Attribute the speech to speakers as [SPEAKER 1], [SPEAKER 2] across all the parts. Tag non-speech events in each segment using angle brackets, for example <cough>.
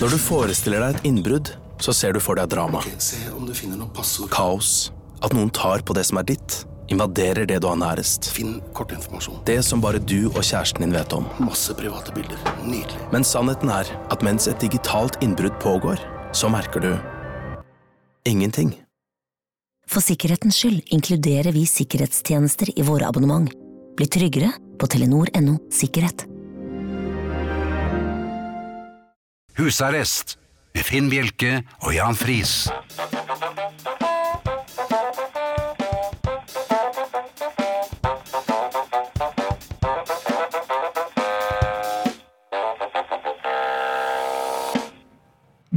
[SPEAKER 1] Når du forestiller deg et innbrudd, så ser du for deg drama.
[SPEAKER 2] Ok, Se om du finner noen passord.
[SPEAKER 1] Kaos. At noen tar på det som er ditt. Invaderer det du har nærest.
[SPEAKER 2] Finn kortinformasjon.
[SPEAKER 1] Det som bare du og kjæresten din vet om.
[SPEAKER 2] Masse private bilder. Nydelig.
[SPEAKER 1] Men sannheten er at mens et digitalt innbrudd pågår, så merker du ingenting.
[SPEAKER 3] For sikkerhetens skyld inkluderer vi sikkerhetstjenester i våre abonnement. Bli tryggere på telenor.no sikkerhet.
[SPEAKER 4] Husarrest med Finn Bjelke og Jan Friis.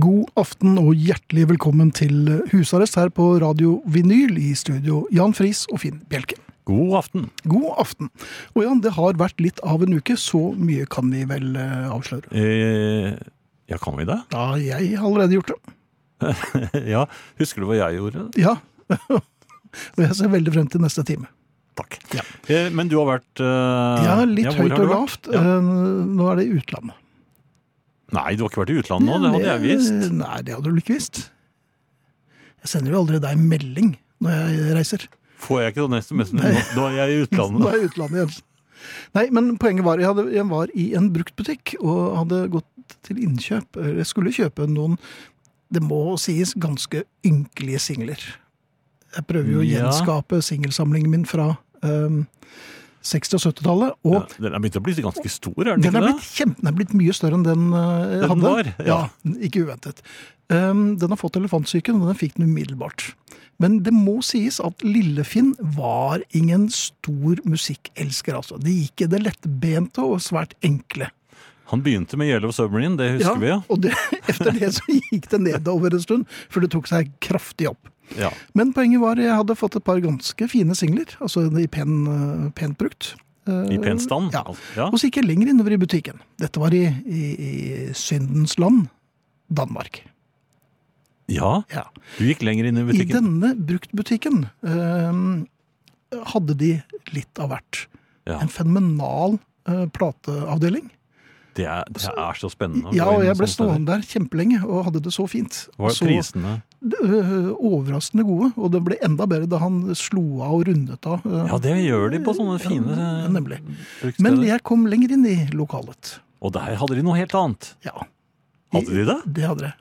[SPEAKER 5] God aften og hjertelig velkommen til husarrest her på Radio Vinyl i studio Jan Friis og Finn Bjelke.
[SPEAKER 6] God aften.
[SPEAKER 5] God aften. Og Jan, det har vært litt av en uke, så mye kan vi vel eh, avsløre.
[SPEAKER 6] Eh, ja, kan vi det?
[SPEAKER 5] Ja, jeg har allerede gjort det.
[SPEAKER 6] <laughs> ja, Husker du hva jeg gjorde?
[SPEAKER 5] Ja. <laughs> og jeg ser veldig frem til neste time.
[SPEAKER 6] Takk.
[SPEAKER 5] Ja.
[SPEAKER 6] Eh, men du har vært eh,
[SPEAKER 5] Ja, litt
[SPEAKER 6] hvor
[SPEAKER 5] høyt
[SPEAKER 6] har du
[SPEAKER 5] og
[SPEAKER 6] vært?
[SPEAKER 5] lavt.
[SPEAKER 6] Ja.
[SPEAKER 5] Eh, Nå er det i utlandet.
[SPEAKER 6] Nei, du har ikke vært i utlandet nå. Det hadde jeg visst.
[SPEAKER 5] Eh, Nei, det hadde du ikke visst. Jeg sender jo aldri deg melding når jeg reiser.
[SPEAKER 6] Får jeg ikke sånn SMS? Nå, nå er jeg
[SPEAKER 5] <laughs>
[SPEAKER 6] i
[SPEAKER 5] Nå
[SPEAKER 6] utlandet.
[SPEAKER 5] er jeg i utlandet igjen. Nei, men poenget var jeg, hadde, jeg var i en bruktbutikk og hadde gått til innkjøp. Jeg skulle kjøpe noen, det må sies, ganske ynkelige singler. Jeg prøver jo å
[SPEAKER 6] Ja.
[SPEAKER 5] gjenskape singelsamlingen min fra ehm, 60- og 70-tallet. Og
[SPEAKER 6] Ja, den er begynt å bli ganske stor, er den
[SPEAKER 5] den
[SPEAKER 6] ikke
[SPEAKER 5] er
[SPEAKER 6] det?
[SPEAKER 5] blitt, kjempe, den er blitt mye større enn den eh, jeg
[SPEAKER 6] Den
[SPEAKER 5] hadde.
[SPEAKER 6] var, ja.
[SPEAKER 5] Ikke uventet. Ehm, den har fått elefantsyken, og den fikk den umiddelbart. Men det må sies at Lillefinn var ingen stor musikkelsker. altså. De gikk i det lettbente og svært enkle.
[SPEAKER 6] Han begynte med Yellow Submarine, det husker vi. ja.
[SPEAKER 5] Og det, <laughs> etter det så gikk det nedover en stund, før det tok seg kraftig opp.
[SPEAKER 6] Ja.
[SPEAKER 5] Men poenget var jeg hadde fått et par ganske fine singler, altså i pen, eh, pent brukt. Eh,
[SPEAKER 6] I pen stand.
[SPEAKER 5] Ja.
[SPEAKER 6] Ja.
[SPEAKER 5] Og så gikk jeg lenger innover i butikken. Dette var i, i, i syndens land, Danmark.
[SPEAKER 6] ja.
[SPEAKER 5] Ja.
[SPEAKER 6] Du gikk lenger inn i
[SPEAKER 5] I
[SPEAKER 6] butikken.
[SPEAKER 5] denne bruktbutikken eh, hadde de litt av hvert.
[SPEAKER 6] Ja.
[SPEAKER 5] En fenomenal eh, plateavdeling.
[SPEAKER 6] Det er, det er så spennende. å
[SPEAKER 5] Ja,
[SPEAKER 6] gå
[SPEAKER 5] og
[SPEAKER 6] inn
[SPEAKER 5] jeg ble
[SPEAKER 6] sånne steder.
[SPEAKER 5] stående der kjempelenge og hadde det så fint.
[SPEAKER 6] Var
[SPEAKER 5] så,
[SPEAKER 6] prisene
[SPEAKER 5] øh, overraskende gode, og det ble enda bedre da han slo av og rundet av. øh,
[SPEAKER 6] Ja, det gjør de på sånne fine
[SPEAKER 5] ja, nemlig. Men
[SPEAKER 6] brukssteder.
[SPEAKER 5] jeg kom lenger inn i lokalet.
[SPEAKER 6] Og der hadde de noe helt annet.
[SPEAKER 5] Ja.
[SPEAKER 6] Hadde de det?
[SPEAKER 5] Det hadde jeg.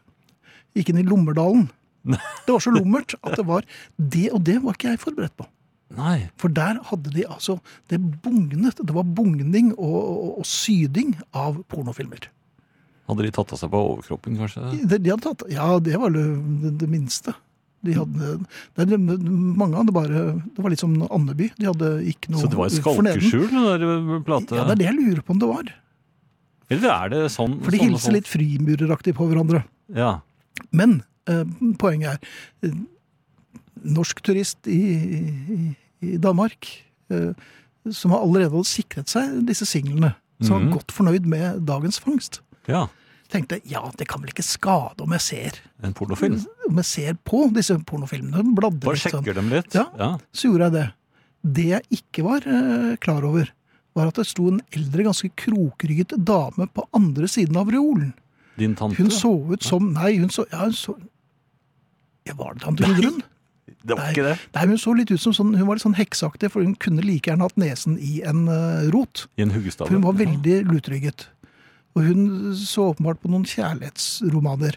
[SPEAKER 5] Gikk inn i Lommerdalen. Det var så lummert at det var det, og det var ikke jeg forberedt på.
[SPEAKER 6] Nei.
[SPEAKER 5] For der hadde de altså Det bugnet. Det var bugning og, og, og syding av pornofilmer.
[SPEAKER 6] Hadde de tatt av seg på overkroppen, kanskje?
[SPEAKER 5] De, de hadde tatt Ja, det var det, det, det minste. De hadde, det, det, mange hadde bare Det var litt som Andeby. De hadde ikke noe
[SPEAKER 6] Så det var et
[SPEAKER 5] forneden.
[SPEAKER 6] skalkeskjul, den der eh, plate?
[SPEAKER 5] Ja, det er det jeg lurer på om det var.
[SPEAKER 6] Eller er det sånn?
[SPEAKER 5] For de
[SPEAKER 6] sånne
[SPEAKER 5] hilser
[SPEAKER 6] folk-
[SPEAKER 5] litt frimureraktig på hverandre.
[SPEAKER 6] Ja.
[SPEAKER 5] Men eh, poenget er eh, Norsk turist i, i, i Danmark eh, som har allerede hadde sikret seg disse singlene, som
[SPEAKER 6] Mhm.
[SPEAKER 5] var godt fornøyd med dagens fangst,
[SPEAKER 6] ja.
[SPEAKER 5] tenkte ja, det kan vel ikke skade om jeg ser,
[SPEAKER 6] En pornofilm.
[SPEAKER 5] om jeg ser på disse pornofilmene. bladrer Mm,
[SPEAKER 6] Bare
[SPEAKER 5] litt sånn.
[SPEAKER 6] sjekker dem litt.
[SPEAKER 5] Ja. Så gjorde jeg det. Det jeg ikke var eh, klar over, var at det sto en eldre, ganske krokrygget dame på andre siden av reolen.
[SPEAKER 6] Din tante.
[SPEAKER 5] Hun så ut som Nei, hun så, ja, hun så ja, Var det tante Gudrun?
[SPEAKER 6] Det var
[SPEAKER 5] Nei.
[SPEAKER 6] ikke det.
[SPEAKER 5] Nei, men hun så litt ut som sånn, hun var litt sånn hekseaktig, for hun kunne like gjerne hatt nesen i en eh, rot.
[SPEAKER 6] I en huggestave.
[SPEAKER 5] For hun var veldig lutrygget. Og hun så åpenbart på noen kjærlighetsromaner.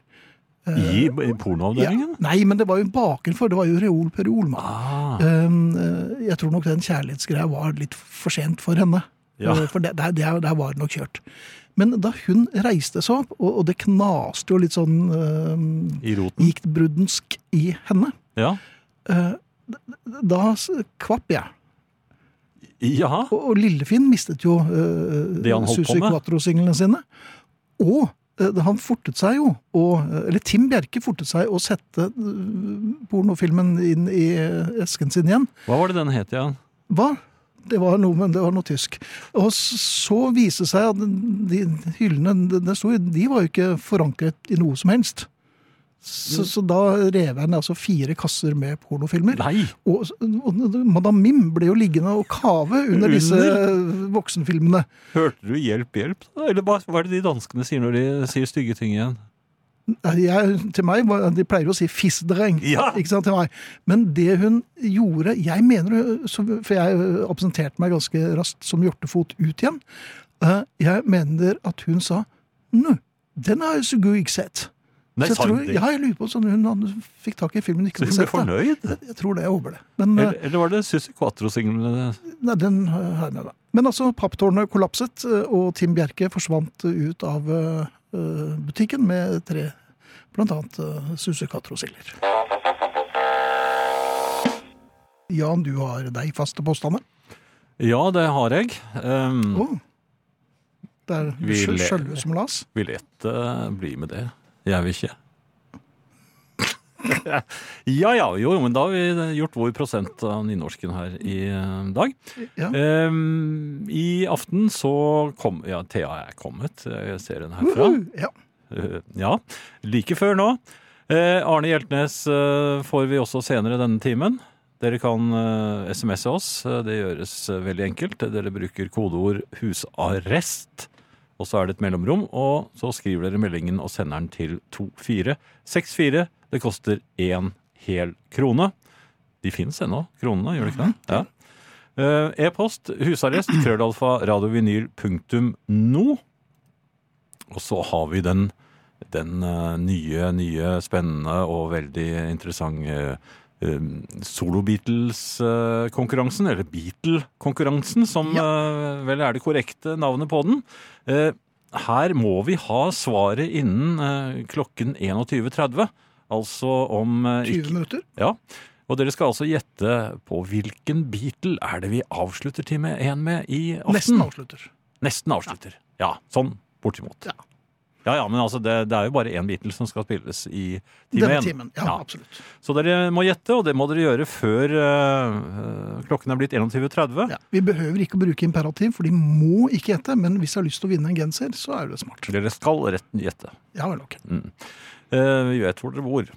[SPEAKER 6] I, i
[SPEAKER 5] eh, Ja,
[SPEAKER 6] pornoavdelingen?
[SPEAKER 5] nei, men det var jo bakenfor. Det var jo reol per reol. mann.
[SPEAKER 6] Ah,
[SPEAKER 5] Um, eh, jeg tror nok den kjærlighetsgreia var litt for sent for henne.
[SPEAKER 6] Ja.
[SPEAKER 5] Eh, For det, der, der, der var det nok kjørt. Men da hun reiste seg opp, og, og det knaste jo litt sånn um,
[SPEAKER 6] I roten.
[SPEAKER 5] giktbruddensk i henne,
[SPEAKER 6] Ja.
[SPEAKER 5] da s- kvapp jeg.
[SPEAKER 6] Ja.
[SPEAKER 5] Og, og Lillefinn mistet jo eh,
[SPEAKER 6] Det han holdt på
[SPEAKER 5] Susi
[SPEAKER 6] med.
[SPEAKER 5] Quatro-singlene sine. Og eh, han fortet seg jo, og, eller Tim Bjerke fortet seg å sette eh, pornofilmen inn i eh, esken sin igjen.
[SPEAKER 6] Hva var det den het igjen?
[SPEAKER 5] Hva? Det var noe, men det var noe tysk. Og s- så viste det seg at de hyllene det- det sto i, de var jo ikke forankret i noe som helst. Så, så da rev jeg ned altså fire kasser med pornofilmer.
[SPEAKER 6] Mm. Nei!
[SPEAKER 5] Og, og Madame Mim ble jo liggende og kave under disse voksenfilmene.
[SPEAKER 6] Hørte du 'hjelp, hjelp'? da? Eller hva hva er det de danskene sier når de sier stygge ting igjen?
[SPEAKER 5] Eh, Jeg, til meg, var- De pleier å si 'fissdreng'.
[SPEAKER 6] Ja.
[SPEAKER 5] Ikke sant, til meg. Men det hun gjorde Jeg mener, hun- så- for jeg eh, absenterte meg ganske raskt som hjortefot ut igjen. Eh, Jeg mener at hun sa 'Nå, den har jeg så god ikke sett'.
[SPEAKER 6] Nei,
[SPEAKER 5] så jeg,
[SPEAKER 6] sant
[SPEAKER 5] tror,
[SPEAKER 6] det.
[SPEAKER 5] ja, jeg lurer på sånn hun, han fikk tak i filmen ikke hadde
[SPEAKER 6] Så hun ble
[SPEAKER 5] sett, da.
[SPEAKER 6] fornøyd?
[SPEAKER 5] Jeg, jeg tror det. Jeg håper det. Men, eh,
[SPEAKER 6] Eller, eller var det Susi Quatro-singlene?
[SPEAKER 5] Nei, den har jeg med meg. Men altså, papptårnet kollapset, eh, og Tim Bjerke forsvant ut av eh, butikken med tre, blant annet uh, susekatter og silder. Jan, du har deg faste påstander.
[SPEAKER 6] Ja, det har jeg. Um,
[SPEAKER 5] Å. Det er
[SPEAKER 6] Vi
[SPEAKER 5] sjø-
[SPEAKER 6] ler.
[SPEAKER 5] sjølve som las.
[SPEAKER 6] Vil dette bli med det? Jeg vil ikke. <laughs> ja ja, jo, men da har vi gjort vår prosent av nynorsken her i eh, dag.
[SPEAKER 5] Ja.
[SPEAKER 6] Ehm, I aften så kom Ja, Thea er kommet. Jeg ser henne herfra.
[SPEAKER 5] Ja.
[SPEAKER 6] Eh, ja, like før nå. Eh, Arne Hjeltnes eh, får vi også senere denne timen. Dere kan eh, SMS-e oss. Eh, Det gjøres eh, veldig enkelt. Dere bruker kodeord 'husarrest', og så er det et mellomrom. Og så skriver dere meldingen og sender den til 2464. Det koster én hel krone. De fins ennå, kronene, gjør de ikke det? Ja. Eh, E-post husarrest krøllalfa radiovinyl punktum no. Og så har vi den, den eh, nye, nye, spennende og veldig interessante eh, Solo-Beatles-konkurransen, eller Beatle-konkurransen, som eh, vel er det korrekte navnet på den. Eh, her må vi ha svaret innen eh, klokken 21.30, altså om eh,
[SPEAKER 5] 20
[SPEAKER 6] ikke
[SPEAKER 5] minutter.
[SPEAKER 6] ja, og dere skal altså gjette på hvilken Beatle er det vi avslutter time én med i aften?
[SPEAKER 5] Nesten avslutter.
[SPEAKER 6] Nesten avslutter. Ja, sånn bortimot.
[SPEAKER 5] Ja.
[SPEAKER 6] Ja, ja, men altså, det, det er jo bare én Beatle som skal spilles i time
[SPEAKER 5] Denne
[SPEAKER 6] én.
[SPEAKER 5] timen. Ja,
[SPEAKER 6] Ja.
[SPEAKER 5] absolutt.
[SPEAKER 6] Så dere må gjette, og det må dere gjøre før øh, øh, klokken er blitt 21.30.
[SPEAKER 5] Ja. Vi behøver ikke å bruke imperativ, for de må ikke gjette. Men hvis de har lyst til å vinne en genser, så er det smart.
[SPEAKER 6] Dere skal rett gjette.
[SPEAKER 5] Ja vel, ok.
[SPEAKER 6] Eh, Vi vet hvor dere bor.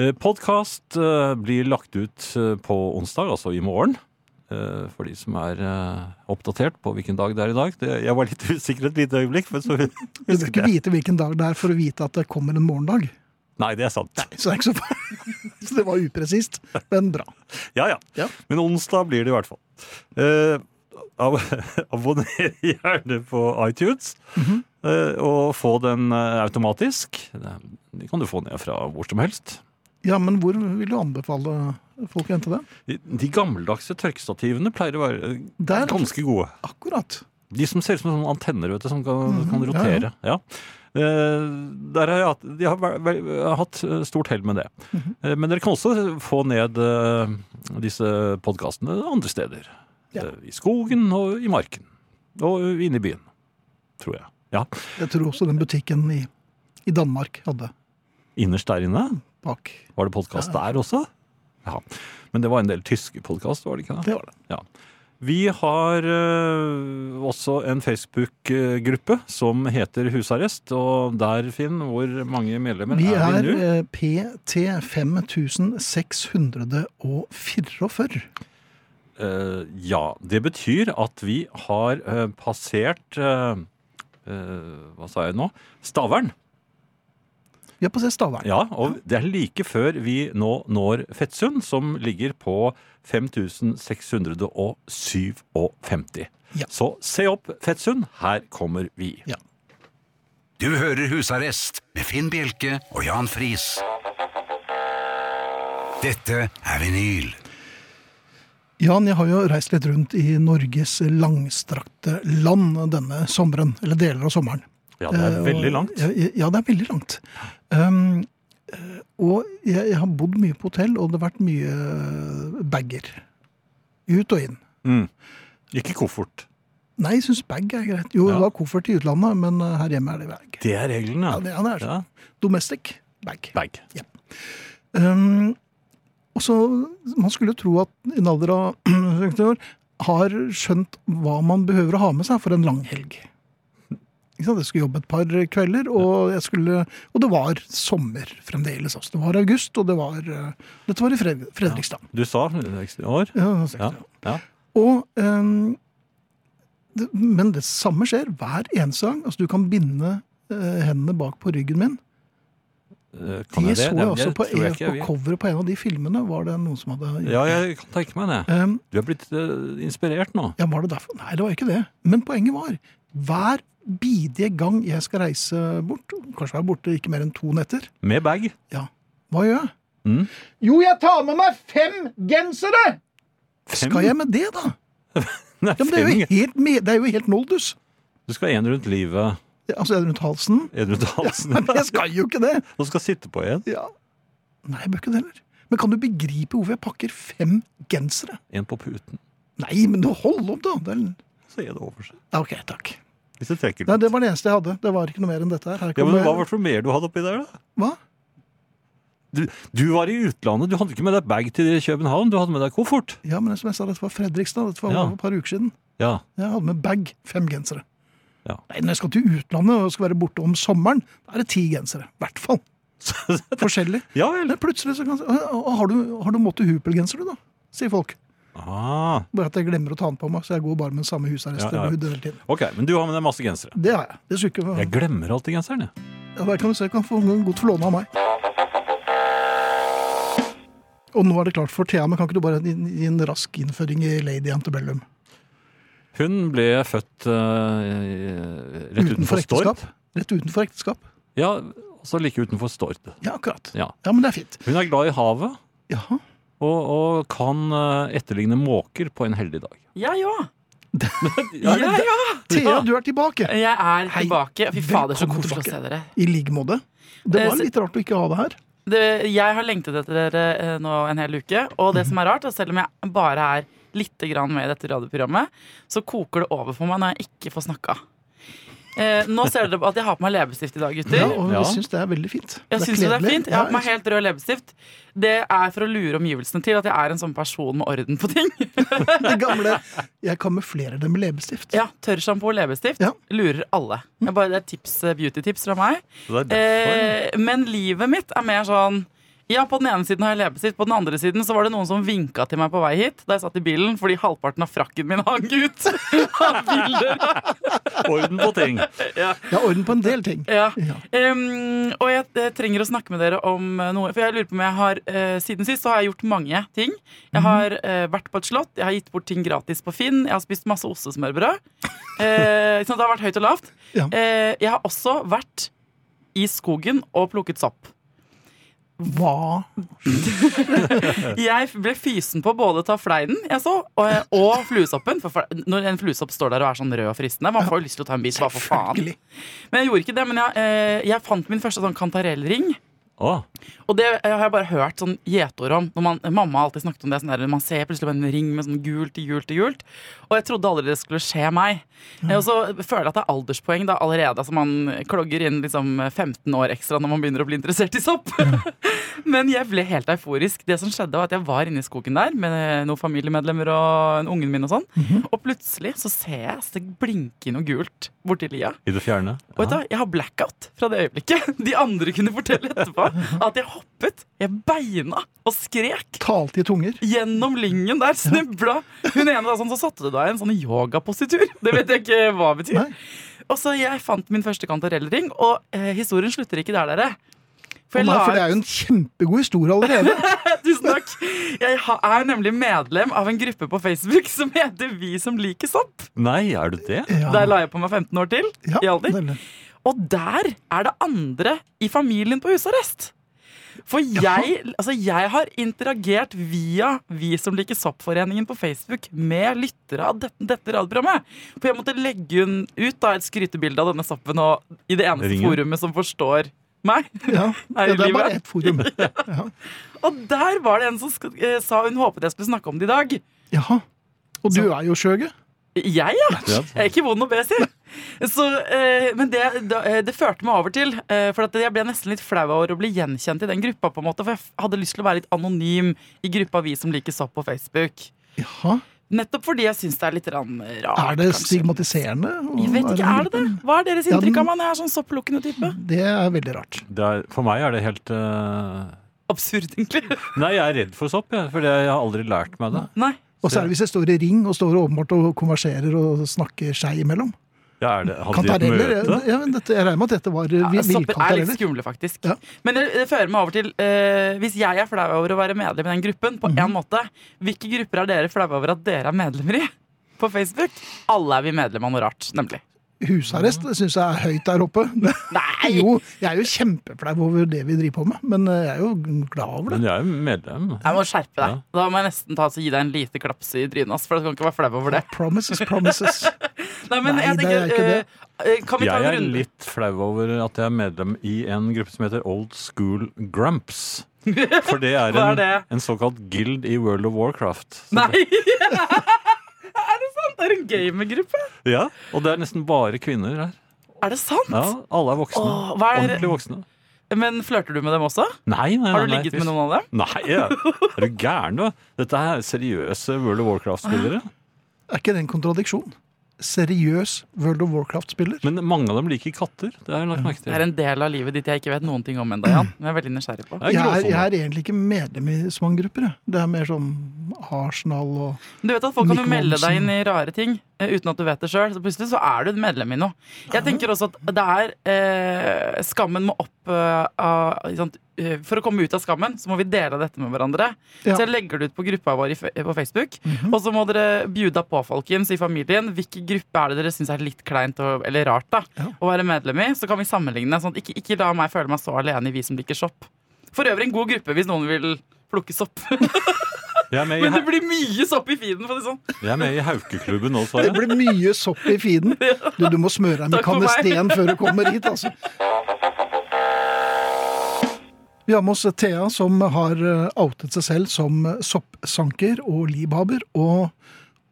[SPEAKER 6] Eh, Podkast eh, blir lagt ut eh, på onsdag, altså i morgen. Eh, For de som er eh, oppdatert på hvilken dag det er i dag. Det, jeg var litt <laughs> usikker et lite øyeblikk,
[SPEAKER 5] <laughs>
[SPEAKER 6] men så
[SPEAKER 5] Du bør ikke vite hvilken dag det er for å vite at det kommer en morgendag.
[SPEAKER 6] Nei, det er sant.
[SPEAKER 5] Så det er ikke så farlig. <laughs> Så det var upresist, men bra.
[SPEAKER 6] Ja, ja.
[SPEAKER 5] Ja.
[SPEAKER 6] Men onsdag blir det i hvert fall. Eh, ab <laughs> abonner gjerne på iTunes,
[SPEAKER 5] Mhm.
[SPEAKER 6] eh, og få den eh, automatisk. Det kan du få ned fra hvor som helst.
[SPEAKER 5] Ja, men hvor vil du anbefale folk å hente det?
[SPEAKER 6] De- De gammeldagse tørkestativene pleier å være eh,
[SPEAKER 5] Der.
[SPEAKER 6] ganske gode.
[SPEAKER 5] Akkurat.
[SPEAKER 6] De som ser ut som sånne antenner vet du, som kan, kan
[SPEAKER 5] Mhm. ja,
[SPEAKER 6] rotere. Ja, Eh, der har jeg hatt, de har vel- vel- har hatt eh, stort hell med det.
[SPEAKER 5] Mhm.
[SPEAKER 6] Eh, men dere kan også få ned eh, disse podkastene andre steder.
[SPEAKER 5] Ja.
[SPEAKER 6] Eh, I skogen og i marken. Og eh, inne i byen, tror jeg. Ja,
[SPEAKER 5] Jeg tror også den butikken i, i Danmark hadde
[SPEAKER 6] Innerst der inne
[SPEAKER 5] bak.
[SPEAKER 6] var det podkast der også. Ja. Men det var en del tyske podkast, var det ikke det?
[SPEAKER 5] Det var det.
[SPEAKER 6] Ja. Vi har eh, også en Facebook-gruppe som heter Husarrest. Og der, Finn, hvor mange medlemmer
[SPEAKER 5] Vi
[SPEAKER 6] er
[SPEAKER 5] er
[SPEAKER 6] vi nå?
[SPEAKER 5] eh, PT 5644.
[SPEAKER 6] Eh, ja. Det betyr at vi har eh, passert eh, eh, Hva sa jeg nå? Stavern.
[SPEAKER 5] Vi er på Stavern.
[SPEAKER 6] Ja, og det er like før vi nå når Fettsund, som ligger på 5657.
[SPEAKER 5] Ja.
[SPEAKER 6] Så se opp Fettsund. Her kommer vi.
[SPEAKER 4] Du hører Husarrest med Finn Bjelke og Jan Friis. Dette er vinyl.
[SPEAKER 5] Jan, jeg har jo reist litt rundt i Norges langstrakte land denne sommeren. Eller deler av sommeren.
[SPEAKER 6] Ja, det er
[SPEAKER 5] Eh, og-
[SPEAKER 6] veldig langt.
[SPEAKER 5] Ja, ja, det er veldig langt. Um, eh, og jeg, jeg har bodd mye på hotell, og det har vært mye bager. Ut og inn.
[SPEAKER 6] Ikke koffert.
[SPEAKER 5] Nei, jeg syns bag er greit. Jo,
[SPEAKER 6] Ja.
[SPEAKER 5] det var koffert i utlandet, men eh, her hjemme er det bag.
[SPEAKER 6] Det er reglene.
[SPEAKER 5] Ja, det, ja, det er
[SPEAKER 6] Ja.
[SPEAKER 5] sånn. Domestic bag.
[SPEAKER 6] Bag.
[SPEAKER 5] Um, og så, Man skulle jo tro at i en alder av <clears throat> 50 år har skjønt hva man behøver å ha med seg for en lang helg. Ikke sant? Jeg skulle jobbe et par kvelder, og, jeg skulle, og det var sommer fremdeles. Altså. Det var august, og det var, eh, dette var i Fred Fredrikstad.
[SPEAKER 6] Du sa 60 år?
[SPEAKER 5] Ja, det var seks
[SPEAKER 6] Ja.
[SPEAKER 5] år.
[SPEAKER 6] ja.
[SPEAKER 5] Og, ehm, det, men det samme skjer hver eneste gang. Altså, du kan binde eh, hendene bak på ryggen min
[SPEAKER 6] Eh, Kan
[SPEAKER 5] De
[SPEAKER 6] jeg
[SPEAKER 5] så jeg
[SPEAKER 6] det? Nei,
[SPEAKER 5] også
[SPEAKER 6] det
[SPEAKER 5] på, E
[SPEAKER 6] tror jeg ikke
[SPEAKER 5] på
[SPEAKER 6] jeg vet.
[SPEAKER 5] coveret på en av de filmene. Var det noen som hadde gjort
[SPEAKER 6] Ja, jeg kan tenke meg det.
[SPEAKER 5] Ehm,
[SPEAKER 6] Du er blitt eh, inspirert nå.
[SPEAKER 5] Ja, var det derfor? Nei, det var ikke det. Men poenget var, hver bidige gang jeg skal reise bort, kanskje være borte ikke mer enn to netter,
[SPEAKER 6] Med bag.
[SPEAKER 5] ja, hva gjør jeg?
[SPEAKER 6] Mm.
[SPEAKER 5] Jo, jeg tar med meg fem gensere!
[SPEAKER 6] Fem?
[SPEAKER 5] Skal jeg med det, da?
[SPEAKER 6] Nei,
[SPEAKER 5] Ja, men det, er jo
[SPEAKER 6] fem.
[SPEAKER 5] helt, me- det er jo helt noldus.
[SPEAKER 6] Du skal ha en rundt livet,
[SPEAKER 5] Altså, jeg er rundt halsen.
[SPEAKER 6] en rundt halsen.
[SPEAKER 5] Nei, men jeg skal jo ikke det.
[SPEAKER 6] Du skal sitte på en.
[SPEAKER 5] Ja. Nei, jeg bør ikke det heller. Men kan du begripe hvorfor jeg pakker fem gensere?
[SPEAKER 6] En på puten.
[SPEAKER 5] Nei, men du hold opp, da! Det er...
[SPEAKER 6] Så er det over seg.
[SPEAKER 5] Ja, OK, takk.
[SPEAKER 6] Hvis du trekker
[SPEAKER 5] Nei,
[SPEAKER 6] litt.
[SPEAKER 5] det var det eneste jeg hadde. Det var ikke noe mer enn dette her. her
[SPEAKER 6] Ja, men
[SPEAKER 5] kommer-
[SPEAKER 6] Hva var det for mer du hadde oppi der, da?
[SPEAKER 5] Hva?
[SPEAKER 6] Du, du var i utlandet. Du hadde ikke med deg bag til København. Du hadde med deg koffert.
[SPEAKER 5] Ja, men som jeg sa, dette var Fredrikstad. Dette var
[SPEAKER 6] Ja.
[SPEAKER 5] over et par uker siden.
[SPEAKER 6] Ja. <laughs>
[SPEAKER 5] Jeg hadde med bag fem gensere.
[SPEAKER 6] Ja.
[SPEAKER 5] Nei, når jeg skal til utlandet og skal være borte om sommeren, da er det ti gensere. I hvert fall. Forskjellig.
[SPEAKER 6] Ja
[SPEAKER 5] <laughs>
[SPEAKER 6] vel.
[SPEAKER 5] Men plutselig så kan «Å, å, har du, har du måttet hupelgenser, du, da? Sier folk.
[SPEAKER 6] Ah,
[SPEAKER 5] Bare at jeg glemmer å ta den på meg, så jeg går bare med den samme husarresten
[SPEAKER 6] Ja, ja.
[SPEAKER 5] hele tiden.
[SPEAKER 6] ok, men du har med deg masse gensere.
[SPEAKER 5] Det har jeg. Det skulle ikke
[SPEAKER 6] Jeg glemmer alltid genseren, jeg.
[SPEAKER 5] Ja, Der kan du se, kan få en godt forlåne av meg. Og nå er det klart for Thea, men kan ikke du bare gi gi en rask innføring i Lady Antebellum?
[SPEAKER 6] Hun ble født eh, rett utenfor, Stord.
[SPEAKER 5] ekteskap? Rett utenfor ekteskap?
[SPEAKER 6] Ja, altså like utenfor Stord.
[SPEAKER 5] Ja, akkurat.
[SPEAKER 6] Ja.
[SPEAKER 5] Ja, men det er fint.
[SPEAKER 6] Hun er glad i havet
[SPEAKER 5] Jaha.
[SPEAKER 6] og, og kan eh, etterligne måker på en heldig dag.
[SPEAKER 7] Jeg
[SPEAKER 5] <laughs>
[SPEAKER 7] òg.
[SPEAKER 6] Ja,
[SPEAKER 7] Ja, ja.
[SPEAKER 5] Thea, du er tilbake.
[SPEAKER 7] Jeg er
[SPEAKER 5] Hei.
[SPEAKER 7] tilbake. Fy fader, så
[SPEAKER 5] Velkommen
[SPEAKER 7] koselig å
[SPEAKER 5] tilbake.
[SPEAKER 7] se dere.
[SPEAKER 5] I like måte. Det
[SPEAKER 7] Eh,
[SPEAKER 5] var
[SPEAKER 7] så-
[SPEAKER 5] litt rart å ikke ha deg her.
[SPEAKER 7] Det, jeg har lengtet etter dere eh, nå en hel uke. Og det som er rart, er selv om jeg bare er litt grann med i dette radioprogrammet, så koker det over for meg når jeg ikke får snakka. Eh, nå ser dere at jeg har på meg leppestift i dag, gutter.
[SPEAKER 5] Ja, og
[SPEAKER 6] Ja.
[SPEAKER 5] jeg syns det er veldig fint.
[SPEAKER 7] Jeg synes jo det er
[SPEAKER 5] kledelig.
[SPEAKER 7] fint. Jeg
[SPEAKER 5] <laughs>
[SPEAKER 7] har på meg helt rød leppestift. Det er for å lure omgivelsene til at jeg er en sånn person med orden på ting.
[SPEAKER 5] Det gamle Jeg kamuflerer det med leppestift.
[SPEAKER 7] <laughs> Ja, Tørrsjampo og leppestift
[SPEAKER 5] Ja.
[SPEAKER 7] lurer alle. Det er bare det er tips, eh, beauty-tips fra meg.
[SPEAKER 6] Så det er derfor.
[SPEAKER 7] Eh, men livet mitt er mer sånn ja, på den ene siden har jeg leppestift, på den andre siden så var det noen som vinka til meg på vei hit da jeg satt i bilen fordi halvparten av frakken min hang ut. <laughs> av bilder.
[SPEAKER 6] Orden på ting.
[SPEAKER 5] Jeg har orden på en del ting.
[SPEAKER 7] Ja.
[SPEAKER 5] Ja.
[SPEAKER 7] Em, og jeg, eh, trenger å snakke med dere om eh, noe. For jeg lurer på om jeg har eh, Siden sist så har jeg gjort mange ting. Jeg har eh, vært på et slott, jeg har gitt bort ting gratis på Finn, jeg har spist masse ostesmørbrød. Eh, sånn at det har vært høyt og lavt.
[SPEAKER 5] Ja.
[SPEAKER 7] Eh, jeg har også vært i skogen og plukket sopp.
[SPEAKER 5] Hva
[SPEAKER 7] Jeg ble fysen på både å ta fleinen jeg så, og, og fluesoppen. For fle- når en fluesopp står der og er sånn rød og fristende, man får jo lyst til å ta en bit. Hva for faen?
[SPEAKER 5] Selvfølgelig.
[SPEAKER 7] Men jeg gjorde ikke det, men jeg, eh, jeg fant min første sånn kantarellring.
[SPEAKER 6] Å,
[SPEAKER 7] Og det har jeg bare hørt sånn gjetord om. Når man, mamma har alltid snakket om det. Sånn der, man ser plutselig på en ring med sånn gult til gult til gult. Og jeg trodde aldri det skulle skje meg. Og så føler jeg at det er alderspoeng da allerede. Altså man klogger inn liksom 15 år ekstra når man begynner å bli interessert i sopp. <laughs> Men jeg ble helt euforisk. Det som skjedde var at jeg var inne i skogen der med noen familiemedlemmer og en ungen min og sånn. Og plutselig så ser jeg så det blinker noe gult borti lia.
[SPEAKER 6] I det fjerne.
[SPEAKER 7] Og vet du, hva? jeg har blackout fra det øyeblikket. <laughs> De andre kunne fortelle etterpå at jeg hoppet, jeg beina og skrek
[SPEAKER 5] talte i tunger?
[SPEAKER 7] gjennom lyngen der. Snubla. Hun ene da, sånn, så satte du deg i en sånn yogapositur. Det vet jeg ikke hva betyr.
[SPEAKER 5] Nei.
[SPEAKER 7] Og så jeg fant min første kantarellring, og eh, historien slutter ikke der, dere. For
[SPEAKER 5] Å
[SPEAKER 7] jeg
[SPEAKER 5] nei,
[SPEAKER 7] la
[SPEAKER 5] for det er jo en kjempegod historie
[SPEAKER 7] <laughs>
[SPEAKER 5] allerede.
[SPEAKER 7] ut <laughs> Tusen takk. Jeg ha- er nemlig medlem av en gruppe på Facebook som heter Vi som liker sopp.
[SPEAKER 6] Nei, er du det?
[SPEAKER 5] Ja.
[SPEAKER 7] Der la jeg på meg 15 år til
[SPEAKER 5] Ja,
[SPEAKER 7] i alder.
[SPEAKER 5] veldig.
[SPEAKER 7] Og der er det andre i familien på husarrest. For jeg, altså jeg har interagert via Vi som liker soppforeningen på Facebook med lyttere av dette, dette radioprogrammet. For jeg måtte legge un- ut da, et skrytebilde av denne soppen og i det eneste
[SPEAKER 6] Ringen.
[SPEAKER 7] forumet som forstår meg. <laughs>
[SPEAKER 5] Ja.
[SPEAKER 7] Er
[SPEAKER 5] ja,
[SPEAKER 7] det
[SPEAKER 5] det er bare
[SPEAKER 7] livet?
[SPEAKER 5] ett
[SPEAKER 7] <laughs>
[SPEAKER 5] forum. Ja.
[SPEAKER 7] Og der var det en som sk eh, sa hun håpet jeg skulle snakke om det i dag.
[SPEAKER 5] Jaha. Og du er jo skjøge.
[SPEAKER 7] Jeg, ja.
[SPEAKER 6] Ja.
[SPEAKER 7] Jeg er ikke vond å be, si. Så, eh, men det, da, eh, det førte meg over til eh, For at jeg ble nesten litt flau over å bli gjenkjent i den gruppa. på en måte For jeg f- hadde lyst til å være litt anonym i gruppa vi som liker sopp på Facebook.
[SPEAKER 5] Jaha.
[SPEAKER 7] Nettopp fordi jeg syns det er litt rann eh, rart.
[SPEAKER 5] Er det
[SPEAKER 7] kanskje.
[SPEAKER 5] stigmatiserende? å
[SPEAKER 7] Jeg vet ikke,
[SPEAKER 5] være en
[SPEAKER 7] er det det?
[SPEAKER 5] gruppe?
[SPEAKER 7] Hva er deres
[SPEAKER 5] Ja,
[SPEAKER 7] inntrykk
[SPEAKER 5] den-
[SPEAKER 7] av meg når jeg er sånn sopplukkende type?
[SPEAKER 5] Det er veldig rart.
[SPEAKER 6] det er, for meg er det helt eh,
[SPEAKER 7] Absurd, egentlig. <laughs>
[SPEAKER 6] Nei, jeg er redd for sopp, jeg, for jeg har aldri lært meg det.
[SPEAKER 7] Nei.
[SPEAKER 5] Og særlig hvis jeg står i ring og står åpenbart og konverserer og snakker seg imellom.
[SPEAKER 6] Ja, er det, hadde de et
[SPEAKER 5] Kantareller?
[SPEAKER 6] møte?
[SPEAKER 5] Ja, men dette, jeg regner med at dette var eh, ja,
[SPEAKER 7] Ja, Sopper er litt
[SPEAKER 5] villkantareller.
[SPEAKER 7] skumle, faktisk.
[SPEAKER 5] Ja.
[SPEAKER 7] Men det, det fører meg over til eh, Hvis jeg er flau over å være medlem i den gruppen, på
[SPEAKER 5] Mhm.
[SPEAKER 7] en måte, hvilke grupper er dere flaue over at dere er medlemmer i? <laughs> På Facebook? Alle er vi medlem av noe rart, nemlig.
[SPEAKER 5] Husarrest syns jeg er høyt der oppe. <laughs>
[SPEAKER 7] Nei!
[SPEAKER 5] Jo, jeg er jo kjempeflau over det vi driver på med, men eh, jeg er jo glad over det.
[SPEAKER 6] Men jeg er jo medlem.
[SPEAKER 7] Jeg må skjerpe deg.
[SPEAKER 6] Ja.
[SPEAKER 7] Da må jeg nesten ta, så gi deg en lite klaps i trynet. ass, For du kan ikke være flau over det.
[SPEAKER 5] Promises, promises.
[SPEAKER 7] Nei, men
[SPEAKER 5] Nei,
[SPEAKER 7] jeg
[SPEAKER 5] det er
[SPEAKER 7] tenker,
[SPEAKER 5] ikke det.
[SPEAKER 7] eh, eh, kan vi ta
[SPEAKER 6] Jeg
[SPEAKER 7] en
[SPEAKER 6] er
[SPEAKER 7] runde?
[SPEAKER 6] litt flau over at jeg er medlem i en gruppe som heter Old School Grumps. For det er,
[SPEAKER 7] <laughs> Hva er
[SPEAKER 6] en,
[SPEAKER 7] det?
[SPEAKER 6] en såkalt guild i World of Warcraft. Så-
[SPEAKER 7] Nei! <laughs> er det sant? Det er en gamergruppe.
[SPEAKER 6] Ja, og det er nesten bare kvinner her.
[SPEAKER 7] Er det sant?
[SPEAKER 6] Ja, alle er voksne.
[SPEAKER 7] Åh, hva er-
[SPEAKER 6] Ordentlig voksne.
[SPEAKER 7] Men flørter du med dem også?
[SPEAKER 6] Nei, nei, nei,
[SPEAKER 7] Har du
[SPEAKER 6] nei,
[SPEAKER 7] ligget
[SPEAKER 6] fy-
[SPEAKER 7] med noen av dem?
[SPEAKER 6] Nei, ja. er du gæren du? Dette er seriøse World of Warcraft-spillere.
[SPEAKER 5] Er ikke det en kontradiksjon? Seriøs World of Warcraft-spiller.
[SPEAKER 6] Men mange av dem liker katter. Det har jeg lagt merke til.
[SPEAKER 7] Det er en del av livet ditt jeg ikke vet noen ting om ennå, Jan. Men jeg er veldig nysgjerrig på.
[SPEAKER 6] Det
[SPEAKER 5] Jeg
[SPEAKER 6] er
[SPEAKER 5] er,
[SPEAKER 6] gråsoner.
[SPEAKER 5] jeg er egentlig ikke medlem i så mange grupper. jeg. Det er mer sånn Arsenal og
[SPEAKER 7] Du vet at Folk kan jo
[SPEAKER 5] Mikkel
[SPEAKER 7] melde deg
[SPEAKER 5] Hansen.
[SPEAKER 7] inn i rare ting eh, uten at du vet det sjøl. Så plutselig så er du et medlem i noe. Jeg tenker også at det er eh, Skammen må opp eh, av, ikke sant, eh, For å komme ut av skammen, så må vi dele dette med hverandre.
[SPEAKER 5] Ja. Mhm.
[SPEAKER 7] Så jeg legger det ut på gruppa vår i, fe- på Facebook. Og så må dere bjuda på, folkens, i familien. Hvilken gruppe er det dere syns er litt kleint og, eller rart da,
[SPEAKER 5] Ja.
[SPEAKER 7] å være medlem i? Så kan vi sammenligne. Sånn at ikke, ikke la meg føle meg så alene i Vi som liker sopp. For øvrig en god gruppe hvis noen vil plukke sopp. <laughs>
[SPEAKER 6] Jeg er med i,
[SPEAKER 7] Men det
[SPEAKER 6] Hau-
[SPEAKER 7] blir mye sopp i feeden, for å si det sånn.
[SPEAKER 6] jeg er med i Haukeklubben nå,
[SPEAKER 7] <laughs>
[SPEAKER 5] Det
[SPEAKER 6] Sverre.
[SPEAKER 5] blir mye sopp i feeden. Du, du må smøre deg med
[SPEAKER 7] Takk for meg.
[SPEAKER 5] kanesten før du kommer hit, altså. Vi har med oss Thea, som har eh, outet seg selv som eh, soppsanker og livhaber. Og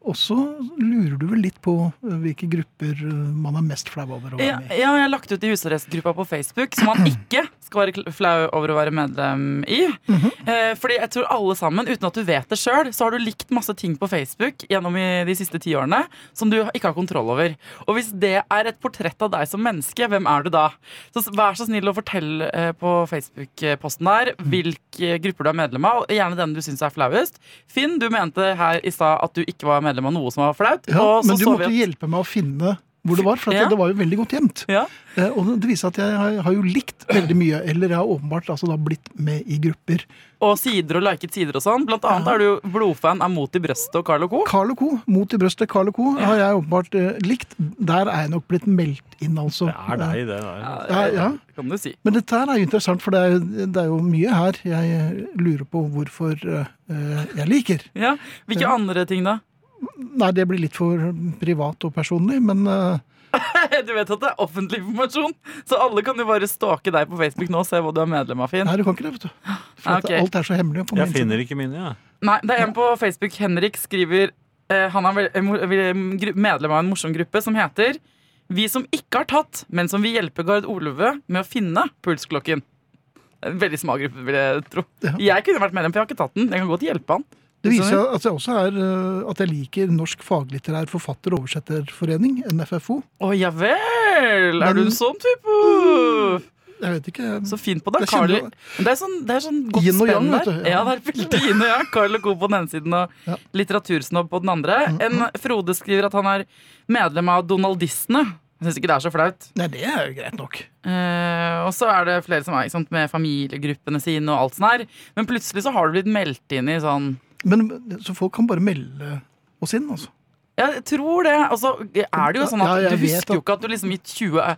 [SPEAKER 5] også lurer du vel litt på eh, hvilke grupper eh, man er mest flau over å være
[SPEAKER 7] Ja,
[SPEAKER 5] med i.
[SPEAKER 7] ja, jeg har lagt ut i husarrestgruppa på Facebook, som man ikke skal være kl- flau over å være medlem i.
[SPEAKER 5] Mhm.
[SPEAKER 7] eh, fordi jeg tror alle sammen, uten at du vet det sjøl, så har du likt masse ting på Facebook gjennom i de siste ti årene som du ikke har kontroll over. Og hvis det er et portrett av deg som menneske, hvem er du da? Så s- vær så snill å fortelle eh, på Facebook-posten der
[SPEAKER 5] Mhm.
[SPEAKER 7] hvilke grupper du er medlem av, og gjerne den du syns er flauest. Finn, du mente her i stad at du ikke var medlem av noe som var flaut.
[SPEAKER 5] Ja,
[SPEAKER 7] og så
[SPEAKER 5] men du
[SPEAKER 7] så vi
[SPEAKER 5] måtte
[SPEAKER 7] at-
[SPEAKER 5] hjelpe meg å finne hvor det var, for at
[SPEAKER 7] Ja.
[SPEAKER 5] det var jo veldig godt gjemt.
[SPEAKER 7] Ja.
[SPEAKER 5] Eh, Og det viser at jeg har- har jo likt veldig mye, eller jeg har åpenbart altså da blitt med i grupper.
[SPEAKER 7] og sider og liket sider og sånn. Blant annet er du jo blodfan av Mot i brøstet og Carl og Co.
[SPEAKER 5] Carl Co. Mot i brøstet Carl Co. har jeg åpenbart eh, likt. Der er jeg nok blitt meldt inn, altså.
[SPEAKER 6] Det er deg, det der.
[SPEAKER 5] Ja, ja.
[SPEAKER 7] Det kan du si.
[SPEAKER 5] Men dette her er jo interessant, for det er, jo- det er jo mye her jeg eh, lurer på hvorfor eh, eh, jeg liker.
[SPEAKER 7] Ja. Hvilke andre ting da? <laughs>
[SPEAKER 5] Nei, det blir litt for privat og personlig, men eh,
[SPEAKER 7] Du vet at det er offentlig informasjon, så alle kan jo bare stalke deg på Facebook nå og se hva du er medlem av, Finn.
[SPEAKER 5] nei, du kan ikke det, vet du. For at
[SPEAKER 7] Ok.
[SPEAKER 5] alt er så hemmelig. På min
[SPEAKER 6] Jeg
[SPEAKER 5] side.
[SPEAKER 6] finner ikke mine, jeg.
[SPEAKER 7] Nei, det er en på Facebook. Henrik skriver eh, Han er vel- en mor- vel- en gru- medlem av en morsom gruppe som heter Vi som ikke har tatt, men som vil hjelpe Gard Olve med å finne pulsklokken. En veldig smal gruppe, vil jeg tro. Jeg kunne vært medlem, for jeg har ikke tatt den. Jeg kan godt hjelpe han.
[SPEAKER 5] Det viser jo at jeg også er, eh, at jeg liker Norsk faglitterær forfatter- og oversetterforening, NFFO.
[SPEAKER 7] Å ja vel! Er
[SPEAKER 5] Men- Mm.
[SPEAKER 7] du en sånn type?
[SPEAKER 5] Jeg vet ikke
[SPEAKER 7] Så fint på deg,
[SPEAKER 5] Jeg
[SPEAKER 7] Carl.
[SPEAKER 5] kjenner jo-
[SPEAKER 7] Det er sånn, det er sånn godt
[SPEAKER 5] Yin og yang,
[SPEAKER 7] spenn
[SPEAKER 5] vet
[SPEAKER 7] der.
[SPEAKER 5] du,
[SPEAKER 7] Ja,
[SPEAKER 5] ja.
[SPEAKER 7] det er veldig yin og yang. Carl og Co på den ene siden og
[SPEAKER 5] Ja. Mm,
[SPEAKER 7] litteratursnobb på den andre. En Frode skriver at han er medlem av donaldistene. Jeg syns ikke det er så flaut.
[SPEAKER 5] Nei, det er jo greit nok.
[SPEAKER 7] Eh, og så er det flere som er ikke sant, med familiegruppene sine og alt sånt her. Men plutselig så har du blitt meldt inn i sånn
[SPEAKER 5] Men, så folk kan bare melde oss inn, altså.
[SPEAKER 7] Ja, Jeg tror det. Og så er det jo sånn at
[SPEAKER 5] Ja, jeg
[SPEAKER 7] du
[SPEAKER 5] vet
[SPEAKER 7] husker jo
[SPEAKER 5] at-
[SPEAKER 7] ikke at du liksom i 20...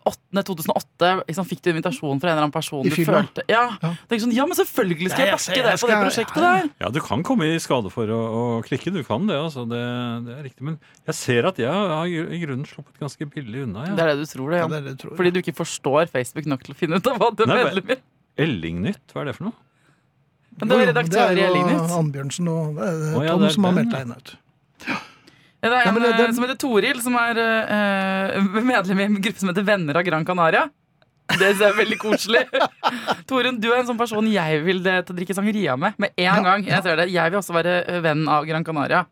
[SPEAKER 7] 8. 2008 liksom, fikk du invitasjon fra en eller annen person
[SPEAKER 5] I
[SPEAKER 7] du
[SPEAKER 5] fylla.
[SPEAKER 7] følte Ja,
[SPEAKER 5] Ja.
[SPEAKER 7] Det er sånn, ja men selvfølgelig skal
[SPEAKER 5] Ja, jeg
[SPEAKER 7] jeg backe
[SPEAKER 5] ser- jeg
[SPEAKER 7] deg på det
[SPEAKER 5] skal-
[SPEAKER 7] prosjektet
[SPEAKER 5] ja, ja.
[SPEAKER 7] der.
[SPEAKER 6] Ja, du kan komme i skade for å, å klikke. Du kan det, altså. Det, det er riktig. Men jeg ser at jeg har i grunnen sluppet ganske billig unna.
[SPEAKER 7] Det
[SPEAKER 6] Jeg.
[SPEAKER 7] er det du tror, det.
[SPEAKER 5] Ja,
[SPEAKER 7] Jan.
[SPEAKER 5] det er det, tror jeg.
[SPEAKER 7] Fordi du ikke forstår Facebook nok til å finne ut av hva du er
[SPEAKER 6] Nei, men-
[SPEAKER 7] medlem i.
[SPEAKER 6] Ellingnytt, hva er det for noe?
[SPEAKER 7] Men det var
[SPEAKER 5] Jo, jo,
[SPEAKER 7] redaktør i
[SPEAKER 5] jo
[SPEAKER 7] Elinit.
[SPEAKER 5] Annbjørnsen og det er
[SPEAKER 6] Å, ja,
[SPEAKER 5] Tom
[SPEAKER 6] det er
[SPEAKER 5] som har
[SPEAKER 6] den,
[SPEAKER 5] meldt
[SPEAKER 6] ja.
[SPEAKER 5] deg inn. vet du.
[SPEAKER 7] Ja, Det er
[SPEAKER 5] Ja,
[SPEAKER 7] en
[SPEAKER 5] men det- det-
[SPEAKER 7] eh, som heter Toril, som er eh, <laughs> medlem i en gruppe som heter Venner av Gran Canaria. Det synes jeg er veldig koselig. <laughs> Torunn, du er en sånn person jeg vil eh, til å drikke sangria med med en gang. Jeg ser det. Jeg vil også være eh, venn av Gran Canaria.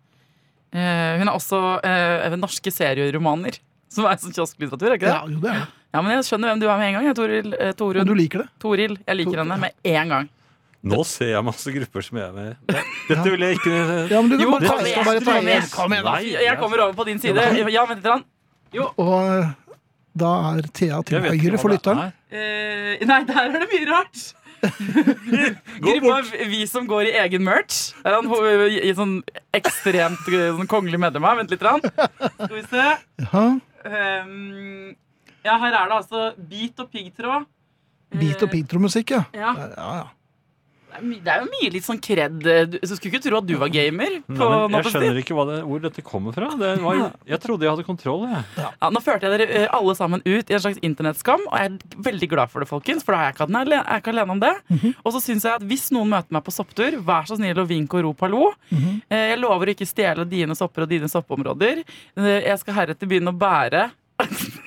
[SPEAKER 7] Eh, hun er også eh, norske serieromaner, som er sånn kiosklitteratur. er ikke det?
[SPEAKER 5] Ja, jo, det er det.
[SPEAKER 7] Ja. men Jeg skjønner hvem du er med en gang. Jeg, Toril, eh,
[SPEAKER 5] Og
[SPEAKER 7] Torunn.
[SPEAKER 5] du liker det?
[SPEAKER 7] Toril, jeg liker
[SPEAKER 5] Tor-
[SPEAKER 7] henne med en gang.
[SPEAKER 6] Nå ser jeg masse grupper som jeg er med i. Dette vil jeg ikke
[SPEAKER 5] Ja, men du kan
[SPEAKER 7] Jo,
[SPEAKER 5] bare
[SPEAKER 7] kom
[SPEAKER 5] ta,
[SPEAKER 7] igjen,
[SPEAKER 5] bare ta
[SPEAKER 7] kom igjen,
[SPEAKER 5] kom igjen.
[SPEAKER 6] Nei,
[SPEAKER 7] Jeg kommer over på din side. Ja, vent litt. grann. Jo.
[SPEAKER 5] Og eh, da er Thea
[SPEAKER 6] Jeg
[SPEAKER 5] til
[SPEAKER 6] vet ikke
[SPEAKER 5] høyre
[SPEAKER 6] hva
[SPEAKER 5] for
[SPEAKER 6] det
[SPEAKER 5] lytteren.
[SPEAKER 6] er.
[SPEAKER 7] Eh, nei, der er det mye rart. Gripa vi som går i egen merch. Er han ho- i, i sånn ekstremt eh, sånn kongelig medlem her? Vent litt. grann. Skal vi se.
[SPEAKER 5] Ja,
[SPEAKER 7] Ehm, ja, her er det altså bit og piggtråd.
[SPEAKER 5] beat og
[SPEAKER 7] Eh,
[SPEAKER 5] pitromusikk, ja.
[SPEAKER 7] Ja.
[SPEAKER 5] Ja, ja.
[SPEAKER 7] Det er my- det er jo mye litt sånn kred. Du så skulle ikke tro at du var gamer. På
[SPEAKER 6] Nei, men jeg
[SPEAKER 7] nattestid.
[SPEAKER 6] skjønner ikke hva det, hvor dette kommer fra. Det var, jeg trodde jeg hadde kontroll. Jeg.
[SPEAKER 7] Ja, nå førte jeg dere eh, alle sammen ut i en slags internettskam, og jeg er veldig glad for det, folkens, for da er jeg ikke alene, jeg er ikke alene om det.
[SPEAKER 5] Mhm.
[SPEAKER 7] Og så syns jeg at hvis noen møter meg på sopptur, vær så snill og vink og rop hallo.
[SPEAKER 5] Mhm.
[SPEAKER 7] Eh, Jeg lover å ikke stjele dine sopper og dine soppområder. Eh, Jeg skal heretter begynne å bære <laughs>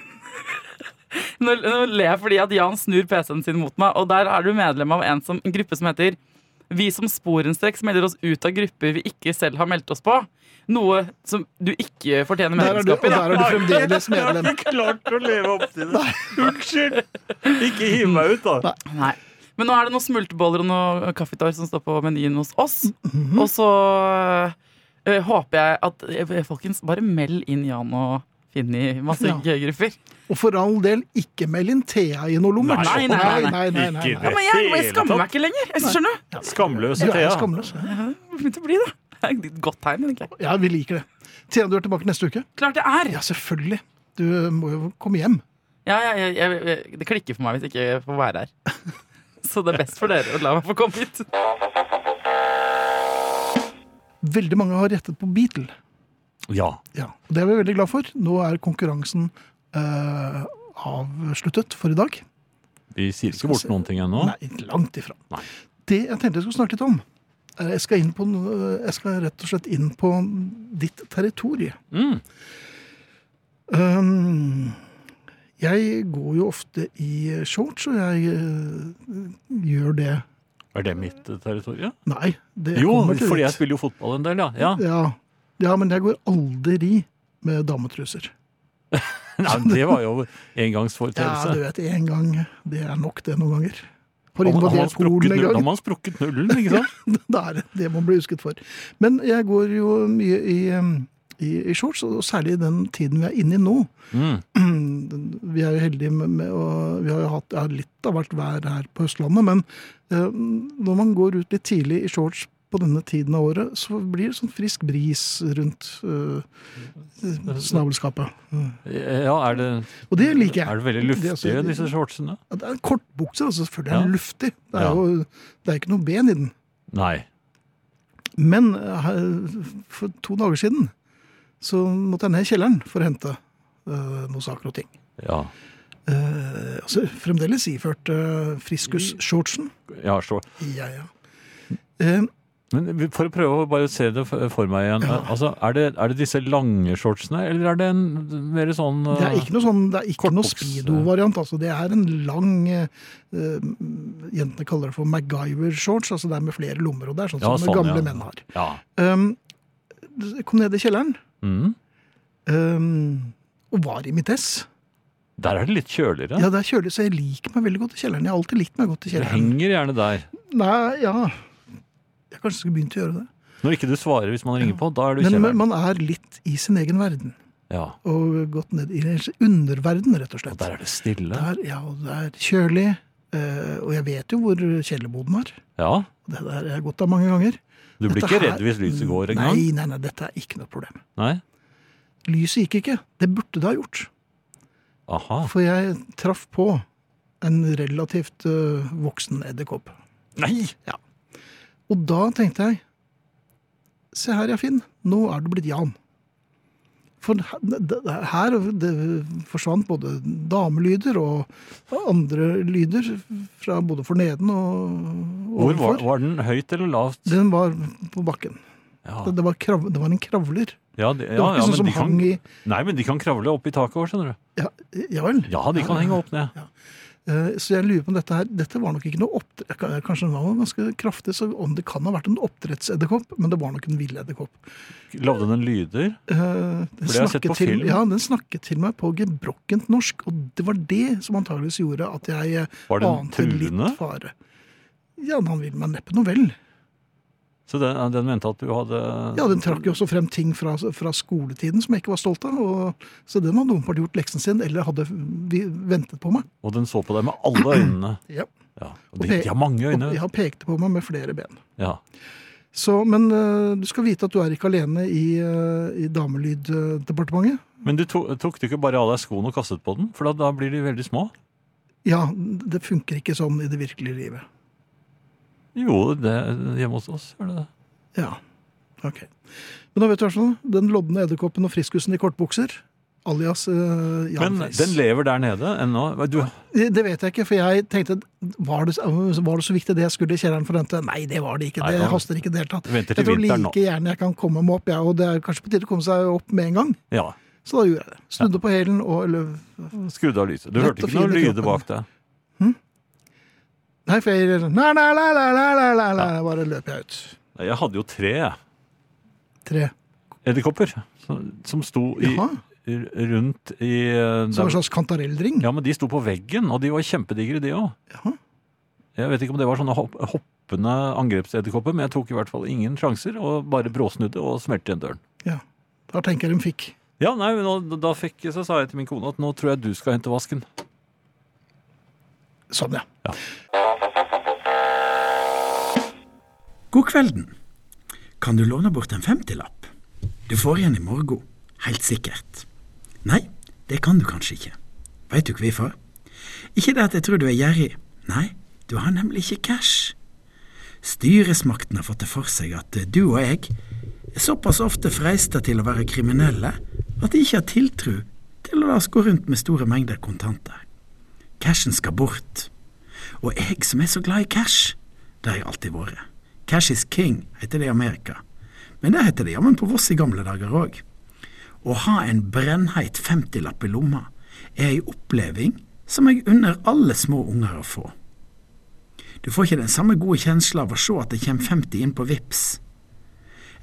[SPEAKER 7] nå, nå ler jeg fordi at Jan snur PC-en sin mot meg, og der er du medlem av en, som, en gruppe som heter vi som sporenstreks melder oss ut av grupper vi ikke selv har meldt oss på. Noe som du ikke fortjener
[SPEAKER 5] Der er du, og
[SPEAKER 7] medlemskap i. da.
[SPEAKER 5] der er du fremdeles medlem.
[SPEAKER 6] klart å leve opp til det. Unnskyld! Ikke hiv meg ut, da.
[SPEAKER 7] Nei. Men nå er det noen smulteboller og noen kaffetår som står på menyen hos oss. Og så ø, håper jeg at ø, Folkens, bare meld inn Jan og Finn i masse
[SPEAKER 5] Ja.
[SPEAKER 7] gøy-grupper.
[SPEAKER 5] Og for all del, ikke meld inn Thea i noe lommert.
[SPEAKER 7] Nei, nei, nei, nei.
[SPEAKER 6] Ikke
[SPEAKER 7] Ja,
[SPEAKER 6] det.
[SPEAKER 7] men jeg, jeg
[SPEAKER 6] Hele
[SPEAKER 7] skammer meg ikke lenger. Jeg skjønner du?
[SPEAKER 5] Du
[SPEAKER 6] Skamløse
[SPEAKER 5] er
[SPEAKER 6] Thea.
[SPEAKER 5] skamløs. ja.
[SPEAKER 7] Det begynte å bli det. Det er et godt tegn, egentlig.
[SPEAKER 5] Ja, vi liker det. Thea, du er tilbake neste uke?
[SPEAKER 7] Klart det er.
[SPEAKER 5] Ja, selvfølgelig. Du må jo komme hjem.
[SPEAKER 7] Ja, ja, jeg, jeg, jeg, det klikker for meg hvis jeg ikke får være her. <laughs> Så det er best for dere å la meg få komme hit.
[SPEAKER 5] Veldig mange har rettet på Beatle.
[SPEAKER 6] Ja.
[SPEAKER 5] Ja, og Det er vi veldig glad for. Nå er konkurransen eh, avsluttet for i dag.
[SPEAKER 6] Vi sier ikke bort noen ting ennå.
[SPEAKER 5] Nei, langt ifra.
[SPEAKER 6] Nei.
[SPEAKER 5] Det jeg tenkte jeg skulle snakke litt om eh, jeg skal, inn på, no- jeg skal rett og slett inn på ditt territorie.
[SPEAKER 6] Mm.
[SPEAKER 5] Um, jeg går jo ofte i shorts, og jeg eh, gjør det
[SPEAKER 6] Er det mitt eh, territorium?
[SPEAKER 5] Nei. Det
[SPEAKER 6] Jo,
[SPEAKER 5] kommer til
[SPEAKER 6] fordi jeg
[SPEAKER 5] dit.
[SPEAKER 6] spiller jo fotball en del, ja.
[SPEAKER 5] <laughs>
[SPEAKER 6] ja.
[SPEAKER 5] ja. ja, men jeg går aldri med dametruser.
[SPEAKER 6] Nei, men det var jo
[SPEAKER 5] Ja, du
[SPEAKER 6] engangsforeteelse.
[SPEAKER 5] vet, én gang. Det er nok det noen ganger. Har
[SPEAKER 6] Da har man
[SPEAKER 5] invadert
[SPEAKER 6] sprukket
[SPEAKER 5] Polen en
[SPEAKER 6] null- da har
[SPEAKER 5] gang.
[SPEAKER 6] man sprukket nullen, ikke sant?
[SPEAKER 5] <laughs> Det er det man blir husket for. Men jeg går jo mye i, um, i, i shorts, og særlig i den tiden vi er inne i nå.
[SPEAKER 6] Mm.
[SPEAKER 5] <clears throat> Vi er jo heldige med, med å Vi har jo hatt ja, litt av hvert vær her på Østlandet, men eh, når man går ut litt tidlig i shorts på denne tiden av året, så blir det sånn frisk bris rundt eh, snabelskapet. <laughs>
[SPEAKER 6] Ja, er det,
[SPEAKER 5] Og det liker jeg.
[SPEAKER 6] er det
[SPEAKER 5] Det
[SPEAKER 6] veldig
[SPEAKER 5] er
[SPEAKER 6] luftige,
[SPEAKER 5] altså-
[SPEAKER 6] disse shortsene?
[SPEAKER 5] Ja, Det er kortbukser, altså. Selvfølgelig er
[SPEAKER 6] Ja.
[SPEAKER 5] den luftig. Det er
[SPEAKER 6] Ja.
[SPEAKER 5] jo det er ikke noe ben i den.
[SPEAKER 6] Nei.
[SPEAKER 5] Men eh, her- for to dager siden så måtte jeg ned i kjelleren for å hente eh, noen saker og ting.
[SPEAKER 6] Ja.
[SPEAKER 5] Eh, altså, fremdeles iført eh, friskus-shortsen.
[SPEAKER 6] ja så.
[SPEAKER 5] Ja, ja. Eh,
[SPEAKER 6] Men vi- for å prøve å bare se det for for meg igjen. Altså, er, det, er det disse lange shortsene, eller er det en mer sånn
[SPEAKER 5] det er ikke noe sånn, det er ikke noe
[SPEAKER 6] Kortbuks, eh.
[SPEAKER 5] speedo-variant. altså. Det er en lang eh, eh, Jentene kaller det for MacGyver-shorts. altså Det er med flere lommer, og det er sånn
[SPEAKER 6] Ja,
[SPEAKER 5] som
[SPEAKER 6] sånn,
[SPEAKER 5] gamle
[SPEAKER 6] ja.
[SPEAKER 5] menn har.
[SPEAKER 6] Ja.
[SPEAKER 5] Um, jeg kom ned i kjelleren
[SPEAKER 6] Mm.
[SPEAKER 5] um, og var i mitt ess.
[SPEAKER 6] Der er det litt kjøligere.
[SPEAKER 5] Ja, det er kjølig, så jeg liker meg veldig godt i kjelleren. Jeg har alltid likt meg godt i
[SPEAKER 6] det
[SPEAKER 5] kjelleren.
[SPEAKER 6] henger gjerne der.
[SPEAKER 5] Nei, ja. Jeg kanskje skulle begynt å gjøre det.
[SPEAKER 6] Når ikke du svarer hvis man ringer på, da er du i
[SPEAKER 5] Men men
[SPEAKER 6] kjelleren.
[SPEAKER 5] man er litt i sin egen verden.
[SPEAKER 6] Ja.
[SPEAKER 5] Og gått ned i underverden, rett og
[SPEAKER 6] Og
[SPEAKER 5] slett.
[SPEAKER 6] der er det stille.
[SPEAKER 5] Der, ja, og det er kjølig. eh, Og jeg vet jo hvor kjellerboden er.
[SPEAKER 6] Ja.
[SPEAKER 5] Det der har jeg gått av mange ganger.
[SPEAKER 6] Du blir
[SPEAKER 5] Dette
[SPEAKER 6] ikke
[SPEAKER 5] her-
[SPEAKER 6] redd hvis lyset går engang?
[SPEAKER 5] Nei, nei, nei, dette er ikke noe problem.
[SPEAKER 6] Nei?
[SPEAKER 5] Lyset gikk ikke. Det burde det ha gjort.
[SPEAKER 6] Aha.
[SPEAKER 5] For jeg traff på en relativt øh, voksen edderkopp.
[SPEAKER 6] Nei!
[SPEAKER 5] Og da tenkte jeg Se her, ja, Finn. Nå er du blitt Jan. For her, det- det- her det forsvant både damelyder og andre lyder fra både forneden og
[SPEAKER 6] Hvor var,
[SPEAKER 5] overfor.
[SPEAKER 6] var den? Høyt eller lavt?
[SPEAKER 5] Den var på bakken.
[SPEAKER 6] Ja,
[SPEAKER 5] Det, det, var, krav, det var en kravler.
[SPEAKER 6] ja, det,
[SPEAKER 5] Det
[SPEAKER 6] ja,
[SPEAKER 5] var ikke
[SPEAKER 6] ja
[SPEAKER 5] sånn
[SPEAKER 6] men
[SPEAKER 5] som
[SPEAKER 6] de kan,
[SPEAKER 5] hang i
[SPEAKER 6] nei, men de kan kravle opp i taket òg, skjønner du.
[SPEAKER 5] Ja, ja vel.
[SPEAKER 6] Ja, de kan henge opp ned.
[SPEAKER 5] Eh, Så jeg lurer på om dette her Dette var nok ikke noe oppdrett Kanskje den var ganske kraftig, så om det kan ha vært en oppdrettsedderkopp, men det var nok en villedderkopp.
[SPEAKER 6] Lagde den lyder?
[SPEAKER 5] Eh, Den
[SPEAKER 6] det har jeg sett
[SPEAKER 5] snakket
[SPEAKER 6] på
[SPEAKER 5] til,
[SPEAKER 6] film.
[SPEAKER 5] ja, den snakket til meg på gebrokkent norsk, og det var det som antageligvis gjorde at jeg eh,
[SPEAKER 6] Var den
[SPEAKER 5] ante litt
[SPEAKER 6] truende?
[SPEAKER 5] fare. Ja, men han ville meg neppe noe vel.
[SPEAKER 6] Så den, den mente at du hadde
[SPEAKER 5] Ja, den trakk jo også frem ting fra, fra skoletiden som jeg ikke var stolt av. Og, så den hadde åpenbart gjort leksen sin, eller hadde vi ventet på meg.
[SPEAKER 6] Og den så på deg med alle øynene.
[SPEAKER 5] Ja.
[SPEAKER 6] Ja, og
[SPEAKER 5] Og
[SPEAKER 6] de,
[SPEAKER 5] pe-
[SPEAKER 6] de har mange
[SPEAKER 5] Og
[SPEAKER 6] øyne.
[SPEAKER 5] jeg har pekte på meg med flere ben.
[SPEAKER 6] Ja.
[SPEAKER 5] Så, men eh, du skal vite at du er ikke alene i, eh, i Damelyddepartementet.
[SPEAKER 6] Men du to, tok du ikke bare av deg skoene og kastet på den? For da, da blir de veldig små.
[SPEAKER 5] Ja, det funker ikke sånn i det virkelige livet.
[SPEAKER 6] Jo, det, hjemme hos oss gjør det det.
[SPEAKER 5] Ja, ok. Men da vet du hva sånn, den lodne edderkoppen og friskusen i kortbukser, alias eh, Jan
[SPEAKER 6] Men
[SPEAKER 5] Friis.
[SPEAKER 6] den lever der nede ennå. Du,
[SPEAKER 5] Det vet jeg ikke, for jeg tenkte, var det, var det så viktig det jeg skulle i kjelleren for dente? Nei, det var det ikke,
[SPEAKER 6] Nei,
[SPEAKER 5] det
[SPEAKER 6] nå-
[SPEAKER 5] haster ikke i det hele tatt.
[SPEAKER 6] Venter til
[SPEAKER 5] Jeg tror
[SPEAKER 6] vinteren nå.
[SPEAKER 5] like gjerne jeg kan komme meg opp, ja, og det er kanskje på tide å komme seg opp med en gang.
[SPEAKER 6] ja,
[SPEAKER 5] Så da gjorde jeg det. Snudde på hælen og eller,
[SPEAKER 6] skrudd av lyset. Du
[SPEAKER 5] Lett
[SPEAKER 6] hørte
[SPEAKER 5] og
[SPEAKER 6] ikke
[SPEAKER 5] fin
[SPEAKER 6] noen
[SPEAKER 5] i kroppen.
[SPEAKER 6] lyder bak deg.
[SPEAKER 5] Nei, for jeg nei, nei, nei, nei, nei, nei, nei, nei, bare løper jeg ut.
[SPEAKER 6] Nei, Jeg hadde jo tre jeg.
[SPEAKER 5] Tre.
[SPEAKER 6] edderkopper som, som sto i,
[SPEAKER 5] Jaha.
[SPEAKER 6] r- rundt i eh,
[SPEAKER 5] Som en
[SPEAKER 6] der-
[SPEAKER 5] slags kantarelldring.
[SPEAKER 6] Ja, men de sto på veggen, og de var kjempedigre, de òg.
[SPEAKER 5] Jaha.
[SPEAKER 6] Jeg vet ikke om det var sånne hopp, hoppende angrepsedderkopper, men jeg tok i hvert fall ingen sjanser og bare bråsnudde og smelte igjen døren.
[SPEAKER 5] Ja. Da tenker jeg de fikk.
[SPEAKER 6] Ja, nei, men nå, Da fikk, så sa jeg til min kone at nå tror jeg du skal hente vasken.
[SPEAKER 5] Sånn, ja.
[SPEAKER 8] God kvelden. Kan du låne bort en femtilapp? Du får igjen i morgen, helt sikkert. Nei, det kan du kanskje ikke. Veit du hvorfor? Ikke det at jeg tror du er gjerrig. Nei, du har nemlig ikke cash. Styresmakten har fått det for seg at du og jeg er såpass ofte freista til å være kriminelle at de ikke har tiltro til å la oss gå rundt med store mengder kontanter. Cashen skal bort. Og jeg som er så glad i cash, det har jeg alltid vært. Cash is king, heter det i Amerika. Men det heter det jammen på Voss i gamle dager òg. Å ha en brennheit 50-lapp i lomma er ei oppleving som jeg unner alle små unger å få. Du får ikke den samme gode kjensla av å se at det kommer 50 inn på VIPS.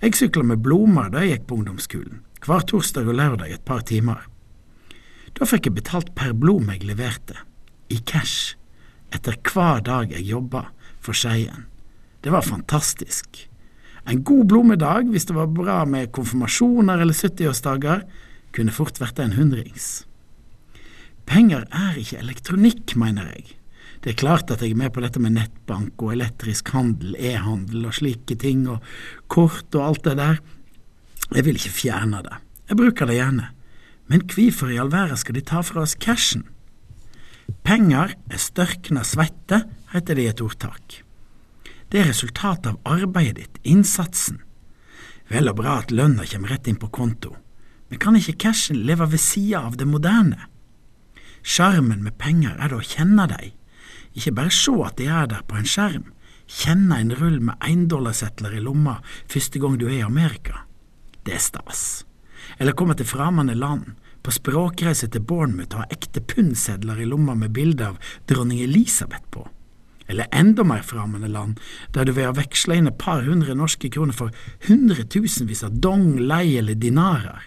[SPEAKER 8] Jeg sykla med blomster da jeg gikk på ungdomsskolen, hver torsdag og lørdag et par timer. Da fikk jeg betalt per blom jeg leverte, i cash, etter hver dag jeg jobba for Skeien. Det var fantastisk. En god blomedag, hvis det var bra med konfirmasjoner eller 70-årsdager, kunne fort vært en hundrings. Penger er ikke elektronikk, mener jeg. Det er klart at jeg er med på dette med nettbank og elektrisk handel, e-handel og slike ting, og kort og alt det der. Jeg vil ikke fjerne det. Jeg bruker det gjerne. Men hvorfor i all verden skal de ta fra oss cashen? Penger er størkna svette, heter det i et ordtak. Det er resultatet av arbeidet ditt, innsatsen. Vel og bra at lønna kommer rett inn på konto, men kan ikke cashen leve ved sida av det moderne? Sjarmen med penger er da å kjenne dem, ikke bare se at de er der på en skjerm, kjenne en rull med éndollarsetler i lomma første gang du er i Amerika. Det er stas. Eller komme til fremmede land, på språkreise til Bournemouth og ha ekte pundsedler i lomma med bilde av dronning Elisabeth på. Eller enda mer fremmede land, der du ved å veksle inn et par hundre norske kroner får hundretusenvis av dong, lei eller dinarer.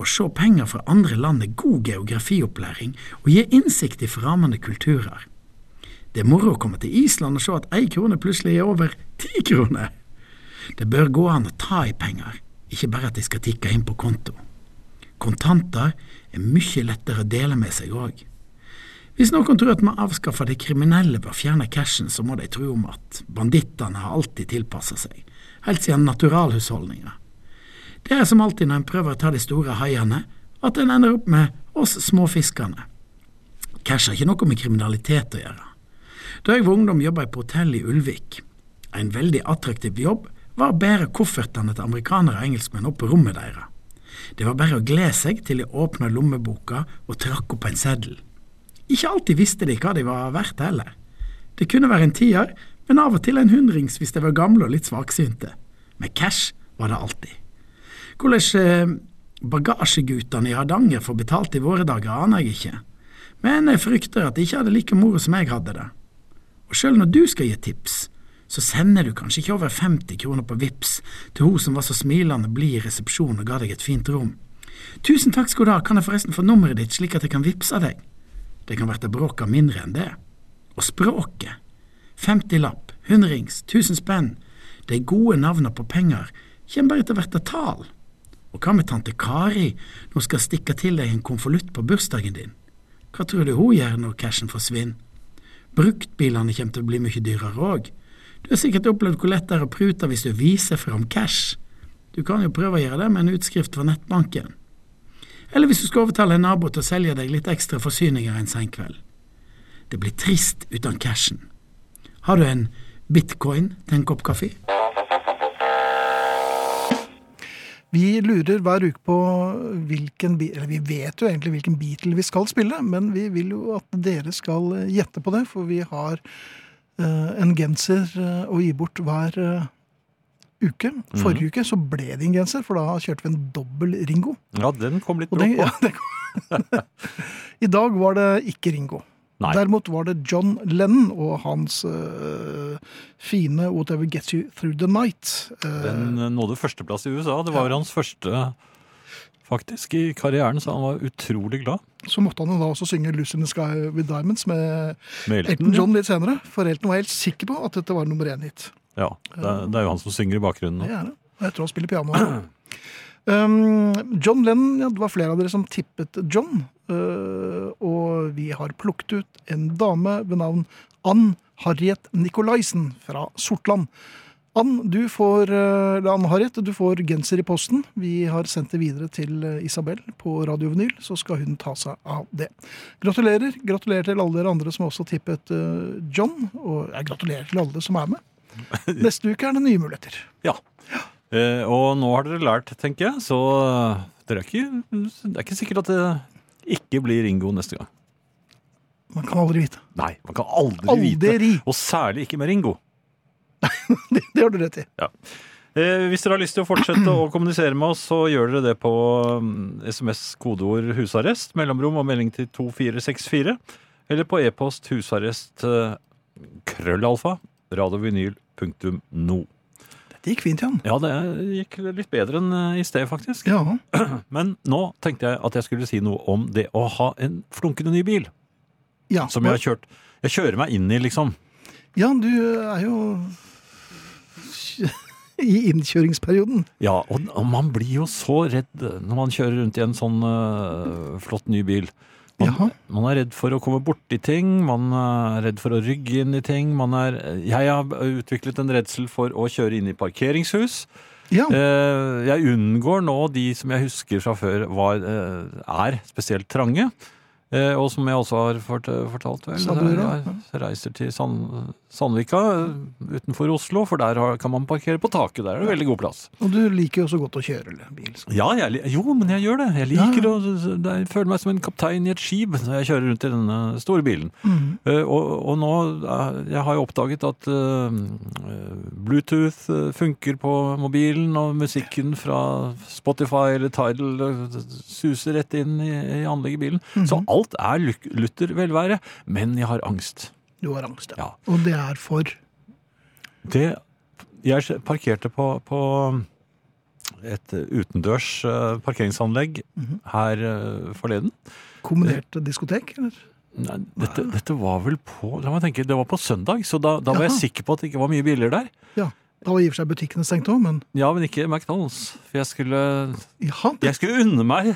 [SPEAKER 8] Å se penger fra andre land er god geografiopplæring og gir innsikt i fremmede kulturer. Det er moro å komme til Island og se at ei krone plutselig er over ti kroner. Det bør gå an å ta i penger, ikke bare at de skal tikke inn på konto. Kontanter er mye lettere å dele med seg òg. Hvis noen tror at vi avskaffer de kriminelle ved å fjerne cashen, så må de tro om at bandittene har alltid tilpassa seg, helt siden naturalhusholdninga. Det er som alltid når en prøver å ta de store haiene, at en ender opp med oss småfiskerne. Cash har ikke noe med kriminalitet å gjøre. Da jeg var ungdom, jobba jeg på hotell i Ulvik. En veldig attraktiv jobb var å bære koffertene til amerikanere og engelskmenn opp på rommet deres. Det var bare å glede seg til de åpna lommeboka og trakk opp en seddel. Ikke alltid visste de hva de var verdt heller. Det kunne være en tier, men av og til en hundrings hvis de var gamle og litt svaksynte. Men cash var det alltid. Hvordan eh, bagasjegutene i Hardanger får betalt i våre dager, aner jeg ikke. Men jeg frykter at de ikke hadde like moro som jeg hadde det. Og sjøl når du skal gi tips, så sender du kanskje ikke over 50 kroner på VIPS til hun som var så smilende blid i resepsjonen og ga deg et fint rom. Tusen takk skal du ha, kan jeg forresten få nummeret ditt slik at jeg kan vippse deg? Det kan verte bråk av mindre enn det. Og språket. 50 lapp, hundrings, 1000 spenn. De gode navna på penger kjem berre til å verte tal. Og hva med tante Kari når hun skal stikke til deg en konvolutt på bursdagen din? Hva tror du hun gjør når cashen forsvinner? Bruktbilene kommer til å bli mye dyrere òg. Du har sikkert opplevd hvor lett det er å prute hvis du viser fram cash. Du kan jo prøve å gjøre det med en utskrift fra nettbanken. Eller hvis du skal overtale en nabo til å selge deg litt ekstra forsyninger en sen kveld. Det blir trist uten cashen. Har du en bitcoin til en kopp kaffe?
[SPEAKER 5] Vi lurer hver uke på hvilken bi- Eller vi vet jo egentlig hvilken Beatle vi skal spille, men vi vil jo at dere skal eh, gjette på det, for vi har eh, en genser eh, å gi bort hver eh, uke.
[SPEAKER 6] Mhm.
[SPEAKER 5] Forrige uke så ble det en genser, for da kjørte vi en dobbel Ringo.
[SPEAKER 6] Ja, den kom litt
[SPEAKER 5] Og
[SPEAKER 6] brått
[SPEAKER 5] den, <laughs>
[SPEAKER 6] på.
[SPEAKER 5] ja, den, <laughs> I dag var det ikke Ringo.
[SPEAKER 6] Nei.
[SPEAKER 5] Derimot var det John Lennon og hans eh, fine 'Whatever Gets You Through The Night'. eh,
[SPEAKER 6] Den eh, nådde førsteplass i USA. Det var jo hans første, faktisk, i karrieren, så han var utrolig glad.
[SPEAKER 5] Så måtte han jo da også synge 'Lucy in the Sky with Diamonds' med
[SPEAKER 6] Med
[SPEAKER 5] Elton
[SPEAKER 6] Elton.
[SPEAKER 5] John litt senere. For Elton var helt sikker på at dette var nummer én-hit.
[SPEAKER 6] Ja, det, er- det er jo han som synger i bakgrunnen
[SPEAKER 5] Det
[SPEAKER 6] nå.
[SPEAKER 5] er det. Og jeg tror han spiller piano. <clears throat> Um, John Lennon, ja, det var flere av dere som tippet John. Uh, og vi har plukket ut en dame ved navn Ann Harriet Nikolaisen fra Sortland. Ann, du får, uh, eller Ann Harriet, du får genser i posten. Vi har sendt det videre til uh, Isabel på Radio Vinyl, så skal hun ta seg av det. Gratulerer. Gratulerer til alle dere andre som også tippet uh, John. Og jeg gratulerer til alle som er med. Neste uke er det nye muligheter.
[SPEAKER 6] Ja. Eh, og nå har dere lært, tenker jeg, så eh, dere er ikke, det er ikke sikkert at det ikke blir Ringo neste gang.
[SPEAKER 5] Man kan aldri vite. <laughs>
[SPEAKER 6] Nei, man kan aldri, vite.
[SPEAKER 5] Aldri!
[SPEAKER 6] Og særlig ikke med Ringo.
[SPEAKER 5] Det, det har du rett i.
[SPEAKER 6] Eh, hvis dere har lyst til å fortsette å kommunisere med oss, så gjør dere det på mm, SMS kodeord 'husarrest', mellomrom og melding til 2464, eller på e-post husarrest eh, krøllalfa radiovinyl.no.
[SPEAKER 5] Dette gikk fint, Jan.
[SPEAKER 6] Ja, det gikk litt bedre enn eh, i sted, faktisk.
[SPEAKER 5] Ja.
[SPEAKER 6] Men nå tenkte jeg at jeg skulle si noe om det å ha en flunkende ny bil,
[SPEAKER 5] Ja.
[SPEAKER 6] som jeg har kjørt. Jeg kjører meg inn i, liksom.
[SPEAKER 5] ja, du er jo <laughs> i innkjøringsperioden.
[SPEAKER 6] Ja, og, og man blir jo så redd når man kjører rundt i en sånn øh, flott ny bil. Man,
[SPEAKER 5] Jaha.
[SPEAKER 6] man er redd for å komme borti ting, man øh, er redd for å rygge inn i ting. Man er, øh, jeg har utviklet en redsel for å kjøre inn i parkeringshus.
[SPEAKER 5] Ja.
[SPEAKER 6] Eh, Jeg unngår nå de som jeg husker fra før var, eh, er spesielt trange. Eh, Og som jeg også har fort- fortalt, vel,
[SPEAKER 5] Sa du det,
[SPEAKER 6] jeg reiser til Sand, Sandvika eh, utenfor Oslo, for der har, kan man parkere på taket. Der er det veldig god plass.
[SPEAKER 5] Og du liker jo så godt å kjøre eller, bil. så-
[SPEAKER 6] Ja, jeg, li- jo, men jeg gjør det. Jeg liker å det- Jeg føler meg som en kaptein i et skip <laughs> når jeg kjører rundt i denne store bilen. Eh, og, og nå eh, Jeg har jo oppdaget at eh, eh, Bluetooth eh, funker på mobilen, og musikken fra Spotify eller Tidal eh, suser rett inn i, i anlegget i bilen. Så alt er luk- lutter velvære, men jeg har angst.
[SPEAKER 5] Du har angst, ja.
[SPEAKER 6] Ja.
[SPEAKER 5] Og det er for
[SPEAKER 6] Det Jeg parkerte på, på et utendørs eh, parkeringsanlegg her eh, forleden.
[SPEAKER 5] kombinert diskotek, eller?
[SPEAKER 6] Nei, dette, dette var vel på La meg tenke, det var på søndag, så da, da var jeg
[SPEAKER 5] Jaha.
[SPEAKER 6] sikker på at det ikke var mye biler der.
[SPEAKER 5] Ja. Da var i og for seg butikkene stengt òg, men
[SPEAKER 6] Ja, men ikke McDonald's. For jeg skulle,
[SPEAKER 5] ja, det,
[SPEAKER 6] jeg skulle unne meg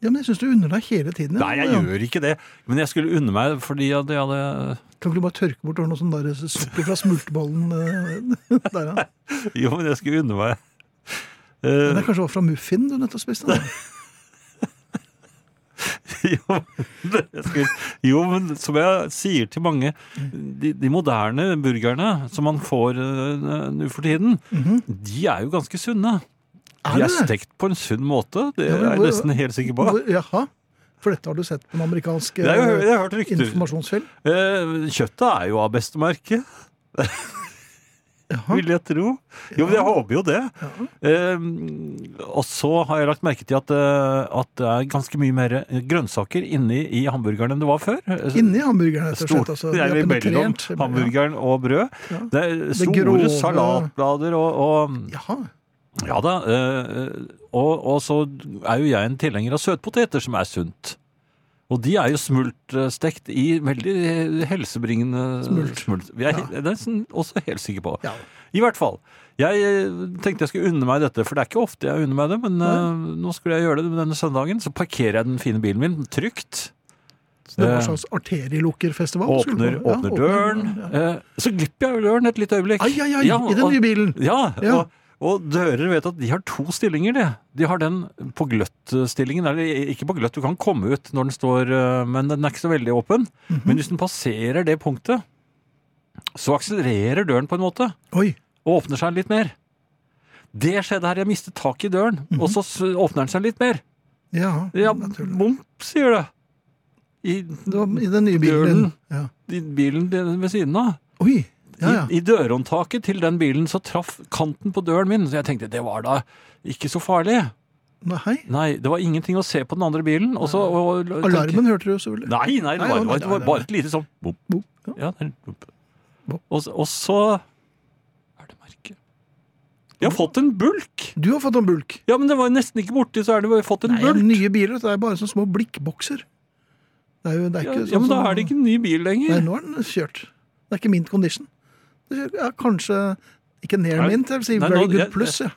[SPEAKER 5] ja, men jeg syns du unner deg hele tiden. ja.
[SPEAKER 6] Nei, jeg
[SPEAKER 5] Ja.
[SPEAKER 6] gjør ikke det. Men jeg skulle unne meg fordi jeg jeg hadde
[SPEAKER 5] Kan ikke du bare tørke bort og ha noe sånn der sukker fra smultebollen eh, <laughs> der,
[SPEAKER 6] <laughs>
[SPEAKER 5] ja.
[SPEAKER 6] Jo, men jeg skulle unne meg
[SPEAKER 5] Men
[SPEAKER 6] Eh,
[SPEAKER 5] det kanskje var fra muffin du nettopp spiste? da.
[SPEAKER 6] <laughs> jo, men jeg skulle, jo, men som jeg sier til mange, de, de moderne burgerne som man får eh, nå for tiden, de er jo ganske sunne.
[SPEAKER 5] Mhm. Er
[SPEAKER 6] de er
[SPEAKER 5] det det?
[SPEAKER 6] stekt på en sunn måte, det
[SPEAKER 5] Ja, men
[SPEAKER 6] er jeg
[SPEAKER 5] hvor-
[SPEAKER 6] nesten helt sikker på.
[SPEAKER 5] Hvor- Jaha. For dette har du sett på en amerikansk
[SPEAKER 6] Det er jo- jeg har hørt
[SPEAKER 5] eh,
[SPEAKER 6] rykter.
[SPEAKER 5] informasjonsfilm?
[SPEAKER 6] Eh, Kjøttet er jo av beste merke,
[SPEAKER 5] Jaha.
[SPEAKER 6] <laughs> vil jeg tro. Jo, men jeg håper jo det. Eh, og så har jeg lagt merke til at, eh, at det er ganske mye mer grønnsaker inni i hamburgeren enn det var før.
[SPEAKER 5] Inni hamburgeren, rett og
[SPEAKER 6] Stort,
[SPEAKER 5] slett. Altså,
[SPEAKER 6] det
[SPEAKER 5] De
[SPEAKER 6] er
[SPEAKER 5] har
[SPEAKER 6] mellom
[SPEAKER 5] penetrert-
[SPEAKER 6] hamburgeren og brød.
[SPEAKER 5] Ja.
[SPEAKER 6] Det er store
[SPEAKER 5] grove-
[SPEAKER 6] salatblader og, og
[SPEAKER 5] Ja. Jaha.
[SPEAKER 6] Ja da. eh, og, og så er jo jeg en tilhenger av søtpoteter, som er sunt. Og de er jo smultstekt i veldig eh, helsebringende
[SPEAKER 5] Smult.
[SPEAKER 6] Jeg er, Det er sånn også helt sikker på. I hvert fall. Jeg eh, tenkte jeg skulle unne meg dette, for det er ikke ofte jeg unner meg det. Men eh, nå skulle jeg gjøre det denne søndagen. Så parkerer jeg den fine bilen min trygt.
[SPEAKER 5] Så det var
[SPEAKER 6] Eh,
[SPEAKER 5] en slags arterielukkerfestival.
[SPEAKER 6] Åpner,
[SPEAKER 5] skulle det være. Ja,
[SPEAKER 6] åpner døren. eh, Så glipper jeg jo døren et lite øyeblikk.
[SPEAKER 5] Ai, ai, ai,
[SPEAKER 6] Ja,
[SPEAKER 5] i den
[SPEAKER 6] og-
[SPEAKER 5] nye bilen!
[SPEAKER 6] ja,
[SPEAKER 5] Ja.
[SPEAKER 6] Og, og dører vet at de har to stillinger, de. De har den på gløtt-stillingen. Eller ikke på gløtt, du kan komme ut når den står øh, Men den er ikke så veldig åpen.
[SPEAKER 5] Mhm.
[SPEAKER 6] Men hvis den passerer det punktet, så akselererer døren på en måte.
[SPEAKER 5] Oi,
[SPEAKER 6] Og åpner seg litt mer. Det skjedde her. Jeg mistet tak i døren, og så s- åpner den seg litt mer.
[SPEAKER 5] ja,
[SPEAKER 6] Ja,
[SPEAKER 5] Mhm. naturlig.
[SPEAKER 6] bom, sier det. I,
[SPEAKER 5] Det var i den nye bilen
[SPEAKER 6] Gjør
[SPEAKER 5] din.
[SPEAKER 6] den.
[SPEAKER 5] Ja.
[SPEAKER 6] i bilen din ved siden av.
[SPEAKER 5] Oi, ja, ja.
[SPEAKER 6] I, I dørhåndtaket til den bilen så traff kanten på døren min, så jeg tenkte det var da ikke så farlig.
[SPEAKER 5] Nei, hei.
[SPEAKER 6] Nei, det var ingenting å se på den andre bilen. Og så, og, og,
[SPEAKER 5] Alarmen hørte du selvfølgelig.
[SPEAKER 6] Nei, nei, det
[SPEAKER 5] Nei,
[SPEAKER 6] var,
[SPEAKER 5] nei,
[SPEAKER 6] det var, det
[SPEAKER 5] nei,
[SPEAKER 6] var
[SPEAKER 5] nei,
[SPEAKER 6] bare et lite sånn bop,
[SPEAKER 5] Bo- ja.
[SPEAKER 6] ja, det er bop.
[SPEAKER 5] Bop.
[SPEAKER 6] Og, så- og så er det merke. Jeg har fått en bulk!
[SPEAKER 5] Du har fått en bulk.
[SPEAKER 6] Ja, men det var jo nesten ikke borti, så er det jo fått en
[SPEAKER 5] Nei,
[SPEAKER 6] bulk.
[SPEAKER 5] nye biler det er bare sånne små blikkbokser. Det er jo det er
[SPEAKER 6] Ja,
[SPEAKER 5] ikke sånn
[SPEAKER 6] ja, men da
[SPEAKER 5] som-
[SPEAKER 6] er det ikke en ny bil lenger.
[SPEAKER 5] Nei, nå er den kjørt. Det er ikke mint condition. Det er, ja, kanskje ikke near
[SPEAKER 6] Nei,
[SPEAKER 5] mint, jeg vil si
[SPEAKER 6] nei,
[SPEAKER 5] very
[SPEAKER 6] nå-
[SPEAKER 5] good
[SPEAKER 6] jeg-
[SPEAKER 5] pluss. Ja.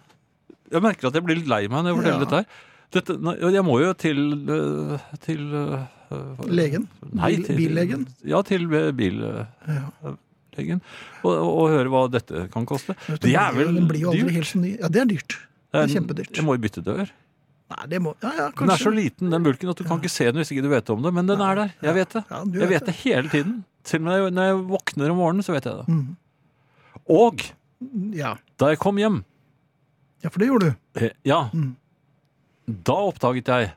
[SPEAKER 6] Jeg merker at jeg blir litt lei meg når jeg forteller
[SPEAKER 5] Ja.
[SPEAKER 6] dette her. Dette, nei, jeg må jo til øh, til øh, hva-
[SPEAKER 5] Legen?
[SPEAKER 6] Nei,
[SPEAKER 5] Bil-
[SPEAKER 6] til,
[SPEAKER 5] billegen?
[SPEAKER 6] Ja, til eh, billegen.
[SPEAKER 5] Ja.
[SPEAKER 6] Og, og, og høre hva dette kan koste. Det er vel
[SPEAKER 5] Den blir jo aldri
[SPEAKER 6] dyrt.
[SPEAKER 5] helt så ny. Ja, det er dyrt. Det er kjempedyrt.
[SPEAKER 6] Jeg må jo bytte dør.
[SPEAKER 5] Nei, det må, ja, ja, kanskje.
[SPEAKER 6] Den er så liten, den bulken, at du kan ikke se den hvis ikke du vet om det. Men den er der. Jeg vet det.
[SPEAKER 5] Ja, du vet
[SPEAKER 6] Jeg vet det hele tiden. Selv når jeg, når jeg våkner om morgenen, så vet jeg det.
[SPEAKER 5] Mhm.
[SPEAKER 6] Og
[SPEAKER 5] Ja.
[SPEAKER 6] da jeg kom hjem,
[SPEAKER 5] ja, for det gjorde du.
[SPEAKER 6] eh, ja, da oppdaget jeg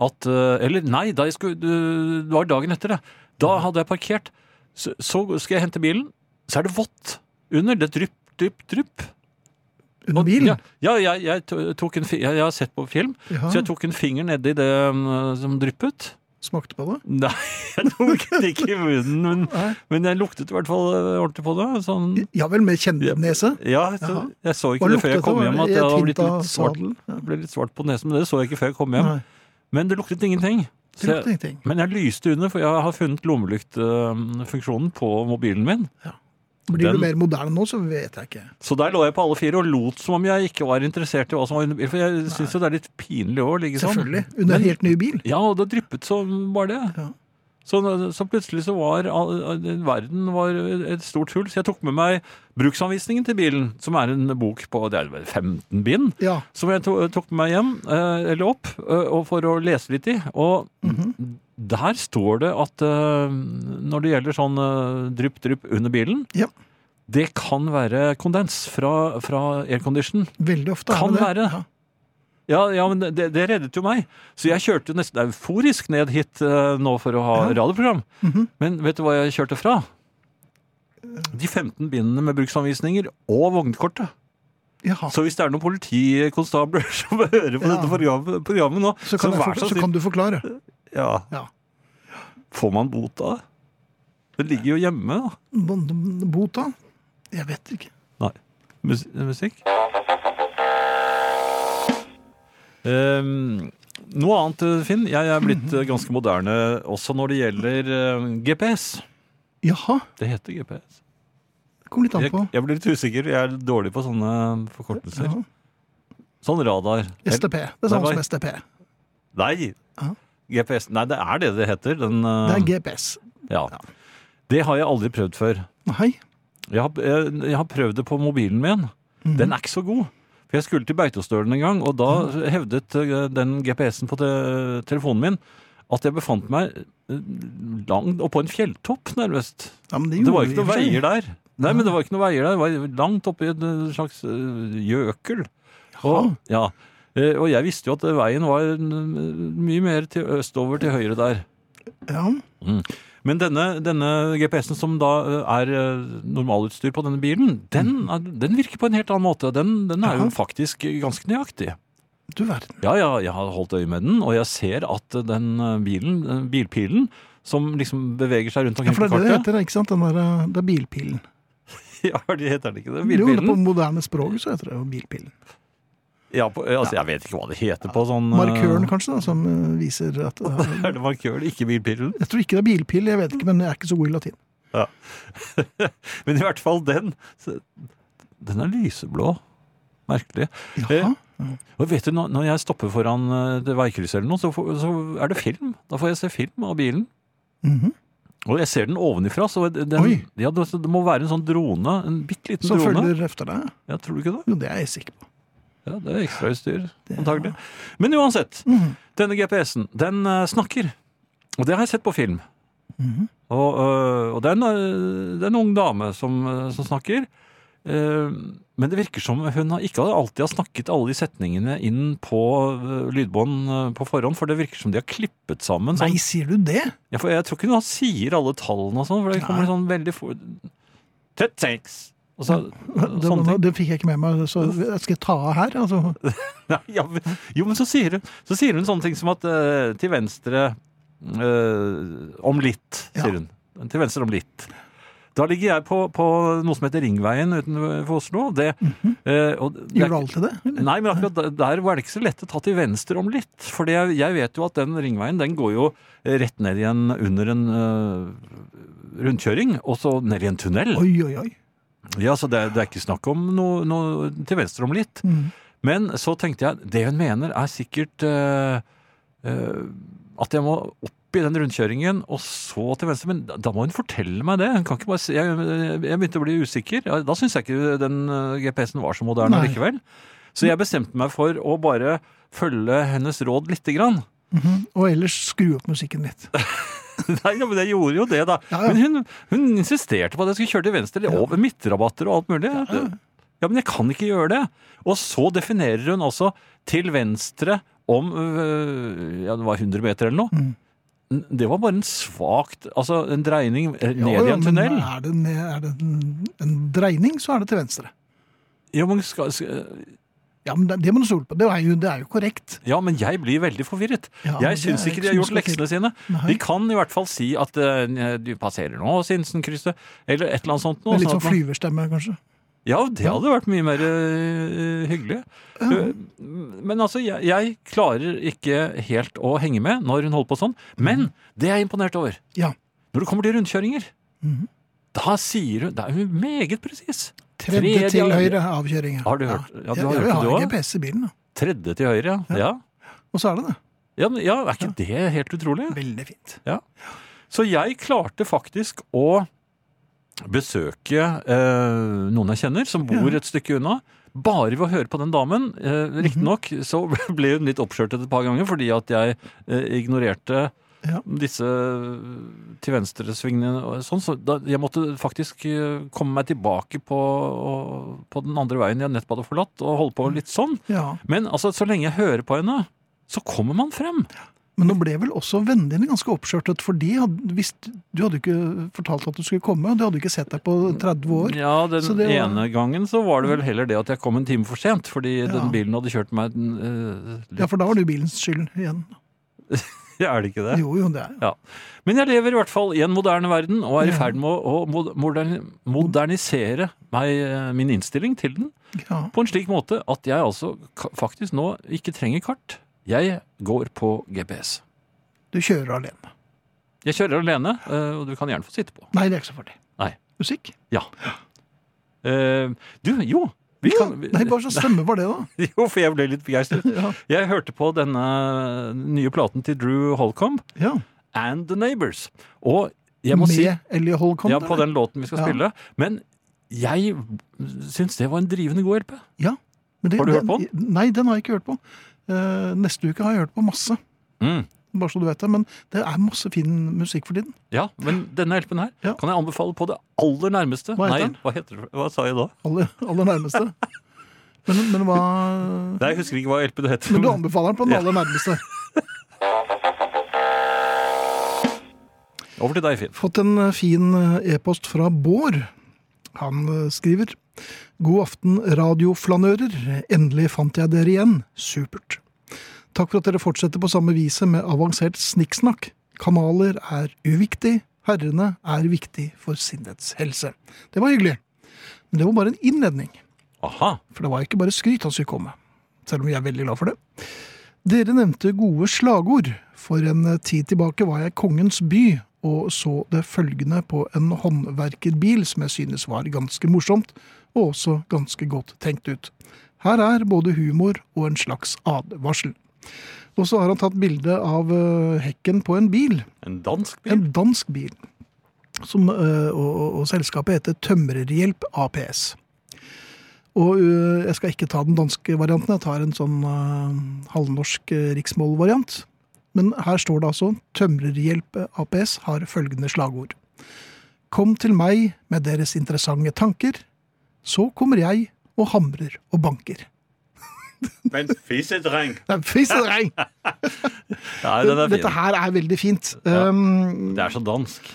[SPEAKER 6] at eh, Eller nei, da jeg skulle, du- det var dagen etter det. Da hadde jeg parkert. Så, så skal jeg hente bilen, så er det vått under. Det drypp, drypp, drypp.
[SPEAKER 5] Under
[SPEAKER 6] Og-
[SPEAKER 5] bilen.
[SPEAKER 6] Ja, ja jeg, jeg, to- tok en, fi- jeg, jeg har sett på film,
[SPEAKER 5] Jaha.
[SPEAKER 6] så jeg tok en finger nedi det eh, som dryppet.
[SPEAKER 5] Smakte på det.
[SPEAKER 6] Nei, <laughs> jeg tok den ikke i munnen, men,
[SPEAKER 5] Nei.
[SPEAKER 6] men jeg luktet i hvert fall eh, ordentlig på det. Sånn,
[SPEAKER 5] Ja vel, med kjennenese.
[SPEAKER 6] ja, så,
[SPEAKER 5] Jaha.
[SPEAKER 6] jeg
[SPEAKER 5] Hva
[SPEAKER 6] så ikke det
[SPEAKER 5] luktet
[SPEAKER 6] før jeg kom
[SPEAKER 5] det?
[SPEAKER 6] hjem at
[SPEAKER 5] Et
[SPEAKER 6] jeg hadde
[SPEAKER 5] hint
[SPEAKER 6] blitt
[SPEAKER 5] av
[SPEAKER 6] litt svart,
[SPEAKER 5] sadel? Ja.
[SPEAKER 6] jeg ble litt svart på nesen, men det så jeg ikke før jeg kom hjem.
[SPEAKER 5] Nei,
[SPEAKER 6] Men det luktet ingenting.
[SPEAKER 5] det
[SPEAKER 6] Så
[SPEAKER 5] lukter
[SPEAKER 6] jeg,
[SPEAKER 5] ingenting.
[SPEAKER 6] men jeg lyste under, for jeg har funnet lommelyktfunksjonen på mobilen min.
[SPEAKER 5] Blir
[SPEAKER 6] Den-
[SPEAKER 5] du mer moderne nå, så vet jeg ikke.
[SPEAKER 6] Så der lå jeg på alle fire og lot som om jeg ikke var interessert i hva som var under bilen. For jeg syns jo det er litt pinlig å ligge sånn.
[SPEAKER 5] Selvfølgelig. Under en
[SPEAKER 6] Men-
[SPEAKER 5] helt ny bil.
[SPEAKER 6] Ja, og det dryppet som bare det.
[SPEAKER 5] Ja.
[SPEAKER 6] Så, så plutselig så var all- all- verden var et stort hull. Så jeg tok med meg bruksanvisningen til bilen, som er en bok på det er vel 15 bind.
[SPEAKER 5] Ja.
[SPEAKER 6] Som jeg to- tok med meg hjem, eh, eller opp, eh, og for å lese litt i. Og
[SPEAKER 5] Mhm.
[SPEAKER 6] der står det at eh, når det gjelder sånn eh, drypp-drypp under bilen
[SPEAKER 5] Ja.
[SPEAKER 6] Det kan være kondens fra, fra aircondition.
[SPEAKER 5] Veldig ofte er
[SPEAKER 6] Kan
[SPEAKER 5] det
[SPEAKER 6] være.
[SPEAKER 5] det. Ja.
[SPEAKER 6] Ja, ja, men det, det reddet jo meg. Så jeg kjørte jo nesten euforisk ned hit eh, nå for å ha radioprogram.
[SPEAKER 5] Mhm.
[SPEAKER 6] Men vet du hva jeg kjørte fra? De 15 bindene med bruksanvisninger og vognkortet.
[SPEAKER 5] Jaha.
[SPEAKER 6] Så hvis det er noen politikonstabler <laughs> som hører på
[SPEAKER 5] Ja.
[SPEAKER 6] dette programmet, programmet nå,
[SPEAKER 5] Så kan, jeg
[SPEAKER 6] vær
[SPEAKER 5] forkla-
[SPEAKER 6] så
[SPEAKER 5] så
[SPEAKER 6] snill
[SPEAKER 5] kan du forklare.
[SPEAKER 6] ja.
[SPEAKER 5] Ja.
[SPEAKER 6] Får man bot av det? Det ligger jo hjemme, da.
[SPEAKER 5] Bon- Bota? Jeg vet ikke.
[SPEAKER 6] Nei. Mus musikk? Ehm, noe annet, eh, Finn. Jeg er blitt eh, ganske moderne også når det gjelder eh, GPS.
[SPEAKER 5] Jaha.
[SPEAKER 6] Det heter GPS.
[SPEAKER 5] Det kom litt an
[SPEAKER 6] Jeg,
[SPEAKER 5] på.
[SPEAKER 6] jeg blir litt usikker. Jeg er dårlig på sånne eh, forkortelser.
[SPEAKER 5] Ja.
[SPEAKER 6] Sånn radar.
[SPEAKER 5] STP. Det er
[SPEAKER 6] Nei,
[SPEAKER 5] samme
[SPEAKER 6] nei.
[SPEAKER 5] som STP.
[SPEAKER 6] Nei!
[SPEAKER 5] Ja.
[SPEAKER 6] GPS. Nei, det er det det heter. Den,
[SPEAKER 5] Det
[SPEAKER 6] eh,
[SPEAKER 5] er GPS.
[SPEAKER 6] ja. det har jeg aldri prøvd før.
[SPEAKER 5] Nei.
[SPEAKER 6] Jeg har, jeg, jeg har prøvd det på mobilen min.
[SPEAKER 5] Mhm.
[SPEAKER 6] Den er ikke så god. For Jeg skulle til Beitostølen en gang, og da
[SPEAKER 5] Mhm.
[SPEAKER 6] hevdet eh, den GPS-en på te telefonen min at jeg befant meg eh, langt oppå en fjelltopp, nærmest.
[SPEAKER 5] Ja, men
[SPEAKER 6] Det var ikke
[SPEAKER 5] gjorde
[SPEAKER 6] noen
[SPEAKER 5] vi i
[SPEAKER 6] veier
[SPEAKER 5] og for seg.
[SPEAKER 6] der. Nei, men det var ikke noen veier der. Det var langt oppi en eh, slags eh, gjøkel. Og, ja. Eh, og jeg visste jo at eh, veien var eh, mye mer til østover til høyre der.
[SPEAKER 5] Ja.
[SPEAKER 6] Men denne, denne GPS-en som da eh, er eh, normalutstyr på denne bilen, den,
[SPEAKER 5] Mm.
[SPEAKER 6] er- den virker på en helt annen måte. Den, den er jo
[SPEAKER 5] Jaha.
[SPEAKER 6] faktisk ganske nøyaktig.
[SPEAKER 5] Du verden.
[SPEAKER 6] Ja, ja, jeg har holdt øye med den, og jeg ser at eh, den eh, bilen, eh, bilpilen, som liksom beveger seg rundt
[SPEAKER 5] Ja,
[SPEAKER 6] omkring
[SPEAKER 5] for det
[SPEAKER 6] på
[SPEAKER 5] er det det
[SPEAKER 6] kartet.
[SPEAKER 5] heter, ikke sant? Den der, eh, det er bilpilen.
[SPEAKER 6] <laughs> Ja, det heter den ikke
[SPEAKER 5] Jo,
[SPEAKER 6] det?
[SPEAKER 5] det er på
[SPEAKER 6] Bilpilen?
[SPEAKER 5] moderne språk så heter det jo bilpilen.
[SPEAKER 6] Ja, på, altså, jeg vet ikke hva det heter på sånn eh,
[SPEAKER 5] Markøren, kanskje, da, som eh, viser at det er-
[SPEAKER 6] <laughs> Er det markøren, ikke bilpillen?
[SPEAKER 5] Jeg tror ikke det er bilpille, jeg vet ikke, men jeg er ikke så god i latin.
[SPEAKER 6] Ja. <laughs> Men i hvert fall den. så- Den er lyseblå. Merkelig. Eh,
[SPEAKER 5] Jaha.
[SPEAKER 6] Og vet du, når- Når jeg stopper foran eh, et veikryss eller noe, så, får, så er det film. Da får jeg se film av bilen.
[SPEAKER 5] Mhm.
[SPEAKER 6] Og jeg ser den ovenifra, så den,
[SPEAKER 5] Oi.
[SPEAKER 6] ja, det, det må være en sånn drone. En bitte liten
[SPEAKER 5] Som
[SPEAKER 6] drone.
[SPEAKER 5] følger efter deg?
[SPEAKER 6] Ja, tror du ikke det?
[SPEAKER 5] Jo, det er jeg sikker på.
[SPEAKER 6] Ja, Det er Mhm. ekstrautstyr, antagelig. Men uansett, denne GPS-en, den eh, snakker. Og det har jeg sett på film. Og, eh, og det, er en, eh, det er en ung dame som, eh, som snakker. Eh, men det virker som hun har- ikke alltid har snakket alle de setningene inn på eh, lydbånd eh, på forhånd, for det virker som de har klippet sammen.
[SPEAKER 5] Nei,
[SPEAKER 6] Sånn.
[SPEAKER 5] sier du det?
[SPEAKER 6] Ja, for jeg tror ikke hun sier alle tallene og sånn, for det kommer sånn veldig fort 36! Og så,
[SPEAKER 5] Det,
[SPEAKER 6] sånne ting.
[SPEAKER 5] det fikk jeg ikke med meg, så jeg skal ta av her. Altså.
[SPEAKER 6] Nei, <laughs> ja, men, jo, men så sier, hun, så sier hun sånne ting som at eh, til venstre eh, om litt, sier
[SPEAKER 5] Ja.
[SPEAKER 6] hun. Til venstre om litt. Da ligger jeg på, på noe som heter Ringveien utenfor Oslo. og Det, eh, og det er
[SPEAKER 5] Mhm. Gjør du
[SPEAKER 6] ikke-
[SPEAKER 5] alltid det? eller?
[SPEAKER 6] Nei, men akkurat der- der var det ikke så lett å ta til venstre om litt. For jeg, jeg vet jo at den ringveien den går jo rett ned igjen under en eh, rundkjøring, og så ned i en tunnel.
[SPEAKER 5] Oi, oi, oi.
[SPEAKER 6] Ja, så det, er- det er ikke snakk om noe, noe til venstre om litt. Men så tenkte jeg, det hun mener er sikkert eh, eh, at jeg må opp i den rundkjøringen og så til venstre, men da- da må hun fortelle meg det. Hun kan ikke bare si, jeg, jeg begynte å bli usikker. Ja, Da syns jeg ikke den eh, GPS-en var så moderne
[SPEAKER 5] Nei.
[SPEAKER 6] likevel. Så jeg bestemte meg for å bare følge hennes råd lite grann.
[SPEAKER 5] Og ellers skru opp musikken litt.
[SPEAKER 6] Nei, ja, men jeg gjorde jo det, da.
[SPEAKER 5] Ja, ja.
[SPEAKER 6] Men hun, hun insisterte på at jeg skulle kjøre til venstre, over midtrabatter og alt mulig. Ja, men jeg kan ikke gjøre det. Og så definerer hun altså til venstre om øh, ja, det var 100 meter eller noe.
[SPEAKER 5] Mm.
[SPEAKER 6] N- Det var bare en svakt Altså en dreining eh, ned
[SPEAKER 5] Ja,
[SPEAKER 6] i
[SPEAKER 5] ja,
[SPEAKER 6] en
[SPEAKER 5] men
[SPEAKER 6] tunnel.
[SPEAKER 5] Er det, ned- er det en, en dreining, så er det til venstre.
[SPEAKER 6] Ja men, skal, skal,
[SPEAKER 5] Ja, men det, det må du stole på. Det er jo, det er jo korrekt.
[SPEAKER 6] ja, men jeg blir veldig forvirret.
[SPEAKER 5] Ja, men
[SPEAKER 6] jeg
[SPEAKER 5] det
[SPEAKER 6] syns
[SPEAKER 5] er
[SPEAKER 6] ikke
[SPEAKER 5] ikke
[SPEAKER 6] de har
[SPEAKER 5] så mye
[SPEAKER 6] gjort
[SPEAKER 5] til.
[SPEAKER 6] leksene sine.
[SPEAKER 5] Nei.
[SPEAKER 6] De kan i hvert fall si at eh, du passerer nå Sinsenkrysset, eller et eller annet sånt. Nå,
[SPEAKER 5] Med litt
[SPEAKER 6] sånn
[SPEAKER 5] sånn
[SPEAKER 6] at man-
[SPEAKER 5] flyverstemme, kanskje.
[SPEAKER 6] Ja, det hadde vært mye mer øh, hyggelig. Øh, Men altså, jeg, jeg klarer ikke helt å henge med når hun holder på sånn. Men det jeg er imponert over,
[SPEAKER 5] Ja.
[SPEAKER 6] når det kommer til rundkjøringer Mhm. Da sier hun Da er hun meget presis.
[SPEAKER 5] Tredje
[SPEAKER 6] Tredje
[SPEAKER 5] til
[SPEAKER 6] av-
[SPEAKER 5] høyre avkjøring.
[SPEAKER 6] Har du hørt- ja, du har hørt
[SPEAKER 5] jeg,
[SPEAKER 6] det,
[SPEAKER 5] jeg
[SPEAKER 6] du
[SPEAKER 5] har
[SPEAKER 6] også?
[SPEAKER 5] GPS i bilen, da.
[SPEAKER 6] Tredje til høyre, ja. Ja,
[SPEAKER 5] Og så er det det.
[SPEAKER 6] ja, men, ja er ikke det helt utrolig?
[SPEAKER 5] Veldig fint.
[SPEAKER 6] Så jeg klarte faktisk å besøke eh, noen jeg kjenner som bor et stykke unna. Bare ved å høre på den damen. Eh, Riktignok så <laughs> ble hun litt oppskjørtet et par ganger fordi at jeg eh, ignorerte
[SPEAKER 5] Ja.
[SPEAKER 6] disse til venstre-svingene. og Sånn, så da, jeg måtte faktisk eh, komme meg tilbake på, på den andre veien jeg nettopp hadde forlatt, og holde på litt sånn.
[SPEAKER 5] Ja.
[SPEAKER 6] Men altså, så lenge jeg hører på henne, så kommer man frem.
[SPEAKER 5] Men nå ble vel også vennene dine ganske oppskjørtet, for de hadde, hvis, du hadde jo ikke fortalt at du skulle komme, og de hadde jo ikke sett deg på 30 år.
[SPEAKER 6] Ja, den
[SPEAKER 5] Så det var-
[SPEAKER 6] ene gangen så var det vel heller det at jeg kom en time for sent, fordi den
[SPEAKER 5] Ja.
[SPEAKER 6] bilen hadde kjørt meg den, eh, <laughs>
[SPEAKER 5] Ja, for da var det jo bilens skyld igjen.
[SPEAKER 6] Er det ikke det?
[SPEAKER 5] Jo, jo, det er jo.
[SPEAKER 6] Ja. Men jeg lever i hvert fall i en moderne verden, og er i ferd med å, å mod- moderni- modernisere meg, eh, min innstilling til den
[SPEAKER 5] Ja.
[SPEAKER 6] på en slik måte at jeg altså ka- faktisk nå ikke trenger kart. Jeg går på GPS.
[SPEAKER 5] Du kjører alene.
[SPEAKER 6] Jeg kjører alene, eh, og du kan gjerne få sitte på.
[SPEAKER 5] Nei, det er ikke så farlig.
[SPEAKER 6] Nei.
[SPEAKER 5] Musikk?
[SPEAKER 6] Ja. Eh, Du, jo. Vi
[SPEAKER 5] Ja,
[SPEAKER 6] kan, vi-
[SPEAKER 5] Nei, bare så stemme var det, da.
[SPEAKER 6] <laughs> Jo, for jeg ble litt begeistret.
[SPEAKER 5] Ja.
[SPEAKER 6] Jeg hørte på denne eh, nye platen til Drew Holcomb,
[SPEAKER 5] Ja.
[SPEAKER 6] And The Neighbors. Og jeg må
[SPEAKER 5] Med
[SPEAKER 6] si
[SPEAKER 5] Ellie Holcomb.
[SPEAKER 6] ja, på
[SPEAKER 5] eller?
[SPEAKER 6] den låten vi skal
[SPEAKER 5] Ja.
[SPEAKER 6] spille. Men jeg syns det var en drivende god hjelp.
[SPEAKER 5] Ja. Men det-
[SPEAKER 6] Har du hørt på
[SPEAKER 5] Nei, den har jeg ikke hørt på. Eh, neste uke har jeg hørt på masse,
[SPEAKER 6] Mm.
[SPEAKER 5] bare så du vet det. Men det er masse fin musikk for tiden.
[SPEAKER 6] Ja, men denne hjelpen her
[SPEAKER 5] Ja.
[SPEAKER 6] kan jeg anbefale på det aller nærmeste.
[SPEAKER 5] Hva heter
[SPEAKER 6] Nei,
[SPEAKER 5] den?
[SPEAKER 6] hva heter det? Hva sa jeg da?
[SPEAKER 5] Aller, aller
[SPEAKER 6] <laughs>
[SPEAKER 5] nærmeste. Men, men hva
[SPEAKER 6] Nei, jeg husker ikke hva hjelpen heter.
[SPEAKER 5] Men du
[SPEAKER 6] men-
[SPEAKER 5] anbefaler den på den aller nærmeste.
[SPEAKER 6] Over til deg, Finn.
[SPEAKER 5] Fått en eh, fin eh, e-post fra Bård. Han eh, skriver God aften, radioflanører. Endelig fant jeg dere igjen. Supert. Takk for at dere fortsetter på samme viset med avansert snikksnakk. Kanaler er uviktig. Herrene er viktig for sinnets helse. Det var hyggelig. Men det var bare en innledning.
[SPEAKER 6] Aha.
[SPEAKER 5] For det var ikke bare skryt han skulle komme med. selv om jeg er veldig glad for det. Dere nevnte gode slagord. For en eh, tid tilbake var jeg Kongens by og så det følgende på en håndverkerbil som jeg synes var ganske morsomt, og også ganske godt tenkt ut. Her er både humor og en slags advarsel. Og så har han tatt bilde av eh, hekken på en bil.
[SPEAKER 6] En dansk bil?
[SPEAKER 5] En dansk bil. Som, eh, og, og, og selskapet heter Tømrerhjelp APS. Og eh, jeg skal ikke ta den danske varianten, jeg tar en sånn eh, halvnorsk eh, riksmålvariant. Men her står det altså Tømrerhjelp APS har følgende slagord. Kom til meg med deres interessante tanker, så kommer jeg og hamrer og banker.
[SPEAKER 6] Men
[SPEAKER 5] <laughs>
[SPEAKER 6] fisedreng!
[SPEAKER 5] Nei, fy
[SPEAKER 6] <laughs>
[SPEAKER 5] søren!
[SPEAKER 6] Nei, den er
[SPEAKER 5] Dette
[SPEAKER 6] fin.
[SPEAKER 5] her er veldig fint.
[SPEAKER 6] Ja.
[SPEAKER 5] Um,
[SPEAKER 6] Det er så dansk.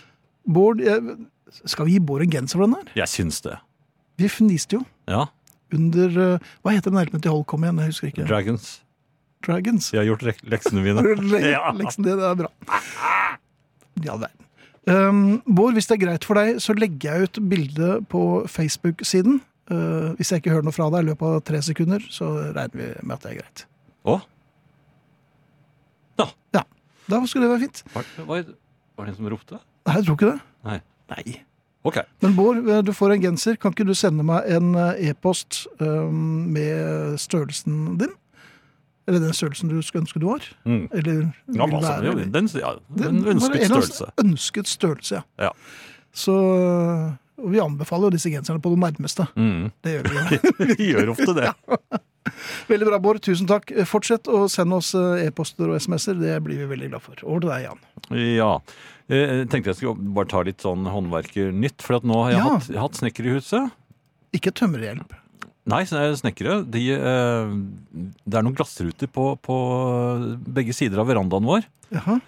[SPEAKER 5] Bård, jeg, skal vi gi Bård en genser for den her?
[SPEAKER 6] Jeg syns det.
[SPEAKER 5] Vi fniste jo
[SPEAKER 6] Ja.
[SPEAKER 5] under eh, Hva heter den hjelpen til Holk? Kom igjen, jeg husker ikke.
[SPEAKER 6] Dragons.
[SPEAKER 5] Dragons. <laughs>
[SPEAKER 6] Jeg har gjort lek- leksene mine. Ja.
[SPEAKER 5] Leksen, det, det er bra. Ja, det er. den. Um, Bård, hvis det er greit for deg, så legger jeg ut bilde på Facebook-siden. Eh, hvis jeg ikke hører noe fra deg i løpet av tre sekunder, så regner vi med at det er greit.
[SPEAKER 6] Å? Ja.
[SPEAKER 5] Ja, Da skulle det være fint.
[SPEAKER 6] Var, var, var det en som ropte?
[SPEAKER 5] Nei, jeg tror ikke det.
[SPEAKER 6] Nei.
[SPEAKER 5] Nei.
[SPEAKER 6] Ok.
[SPEAKER 5] Men Bård, eh, du får en genser. Kan ikke du sende meg en eh, e-post øhm, med størrelsen din? Eller den størrelsen du skulle ønske du var?
[SPEAKER 6] Mm.
[SPEAKER 5] Eller
[SPEAKER 6] Ja,
[SPEAKER 5] vil
[SPEAKER 6] hva som
[SPEAKER 5] være,
[SPEAKER 6] helst.
[SPEAKER 5] eller-
[SPEAKER 6] Den, ja, den
[SPEAKER 5] Det var en
[SPEAKER 6] ønsket
[SPEAKER 5] eller annen
[SPEAKER 6] størrelse.
[SPEAKER 5] Ønsket størrelse, ja.
[SPEAKER 6] Ja.
[SPEAKER 5] Så og vi anbefaler jo disse genserne på det nærmeste.
[SPEAKER 6] Mm.
[SPEAKER 5] Det gjør vi jo. <laughs>
[SPEAKER 6] <laughs> Vi gjør ofte det.
[SPEAKER 5] Veldig bra, Bård. Tusen takk. Eh, Fortsett å sende oss eh, e-poster og SMS-er. Det blir vi veldig glad for. Over til deg, Jan.
[SPEAKER 6] Ja. Eh, Jeg tenkte jeg skulle bare ta litt sånn håndverkernytt, for at nå har jeg
[SPEAKER 5] Ja.
[SPEAKER 6] hatt, jeg har hatt snekker i huset.
[SPEAKER 5] Ikke tømmerhjelp.
[SPEAKER 6] Nei, så er det snekkere. De, eh, det er noen glassruter på, på begge sider av verandaen vår
[SPEAKER 5] Jaha.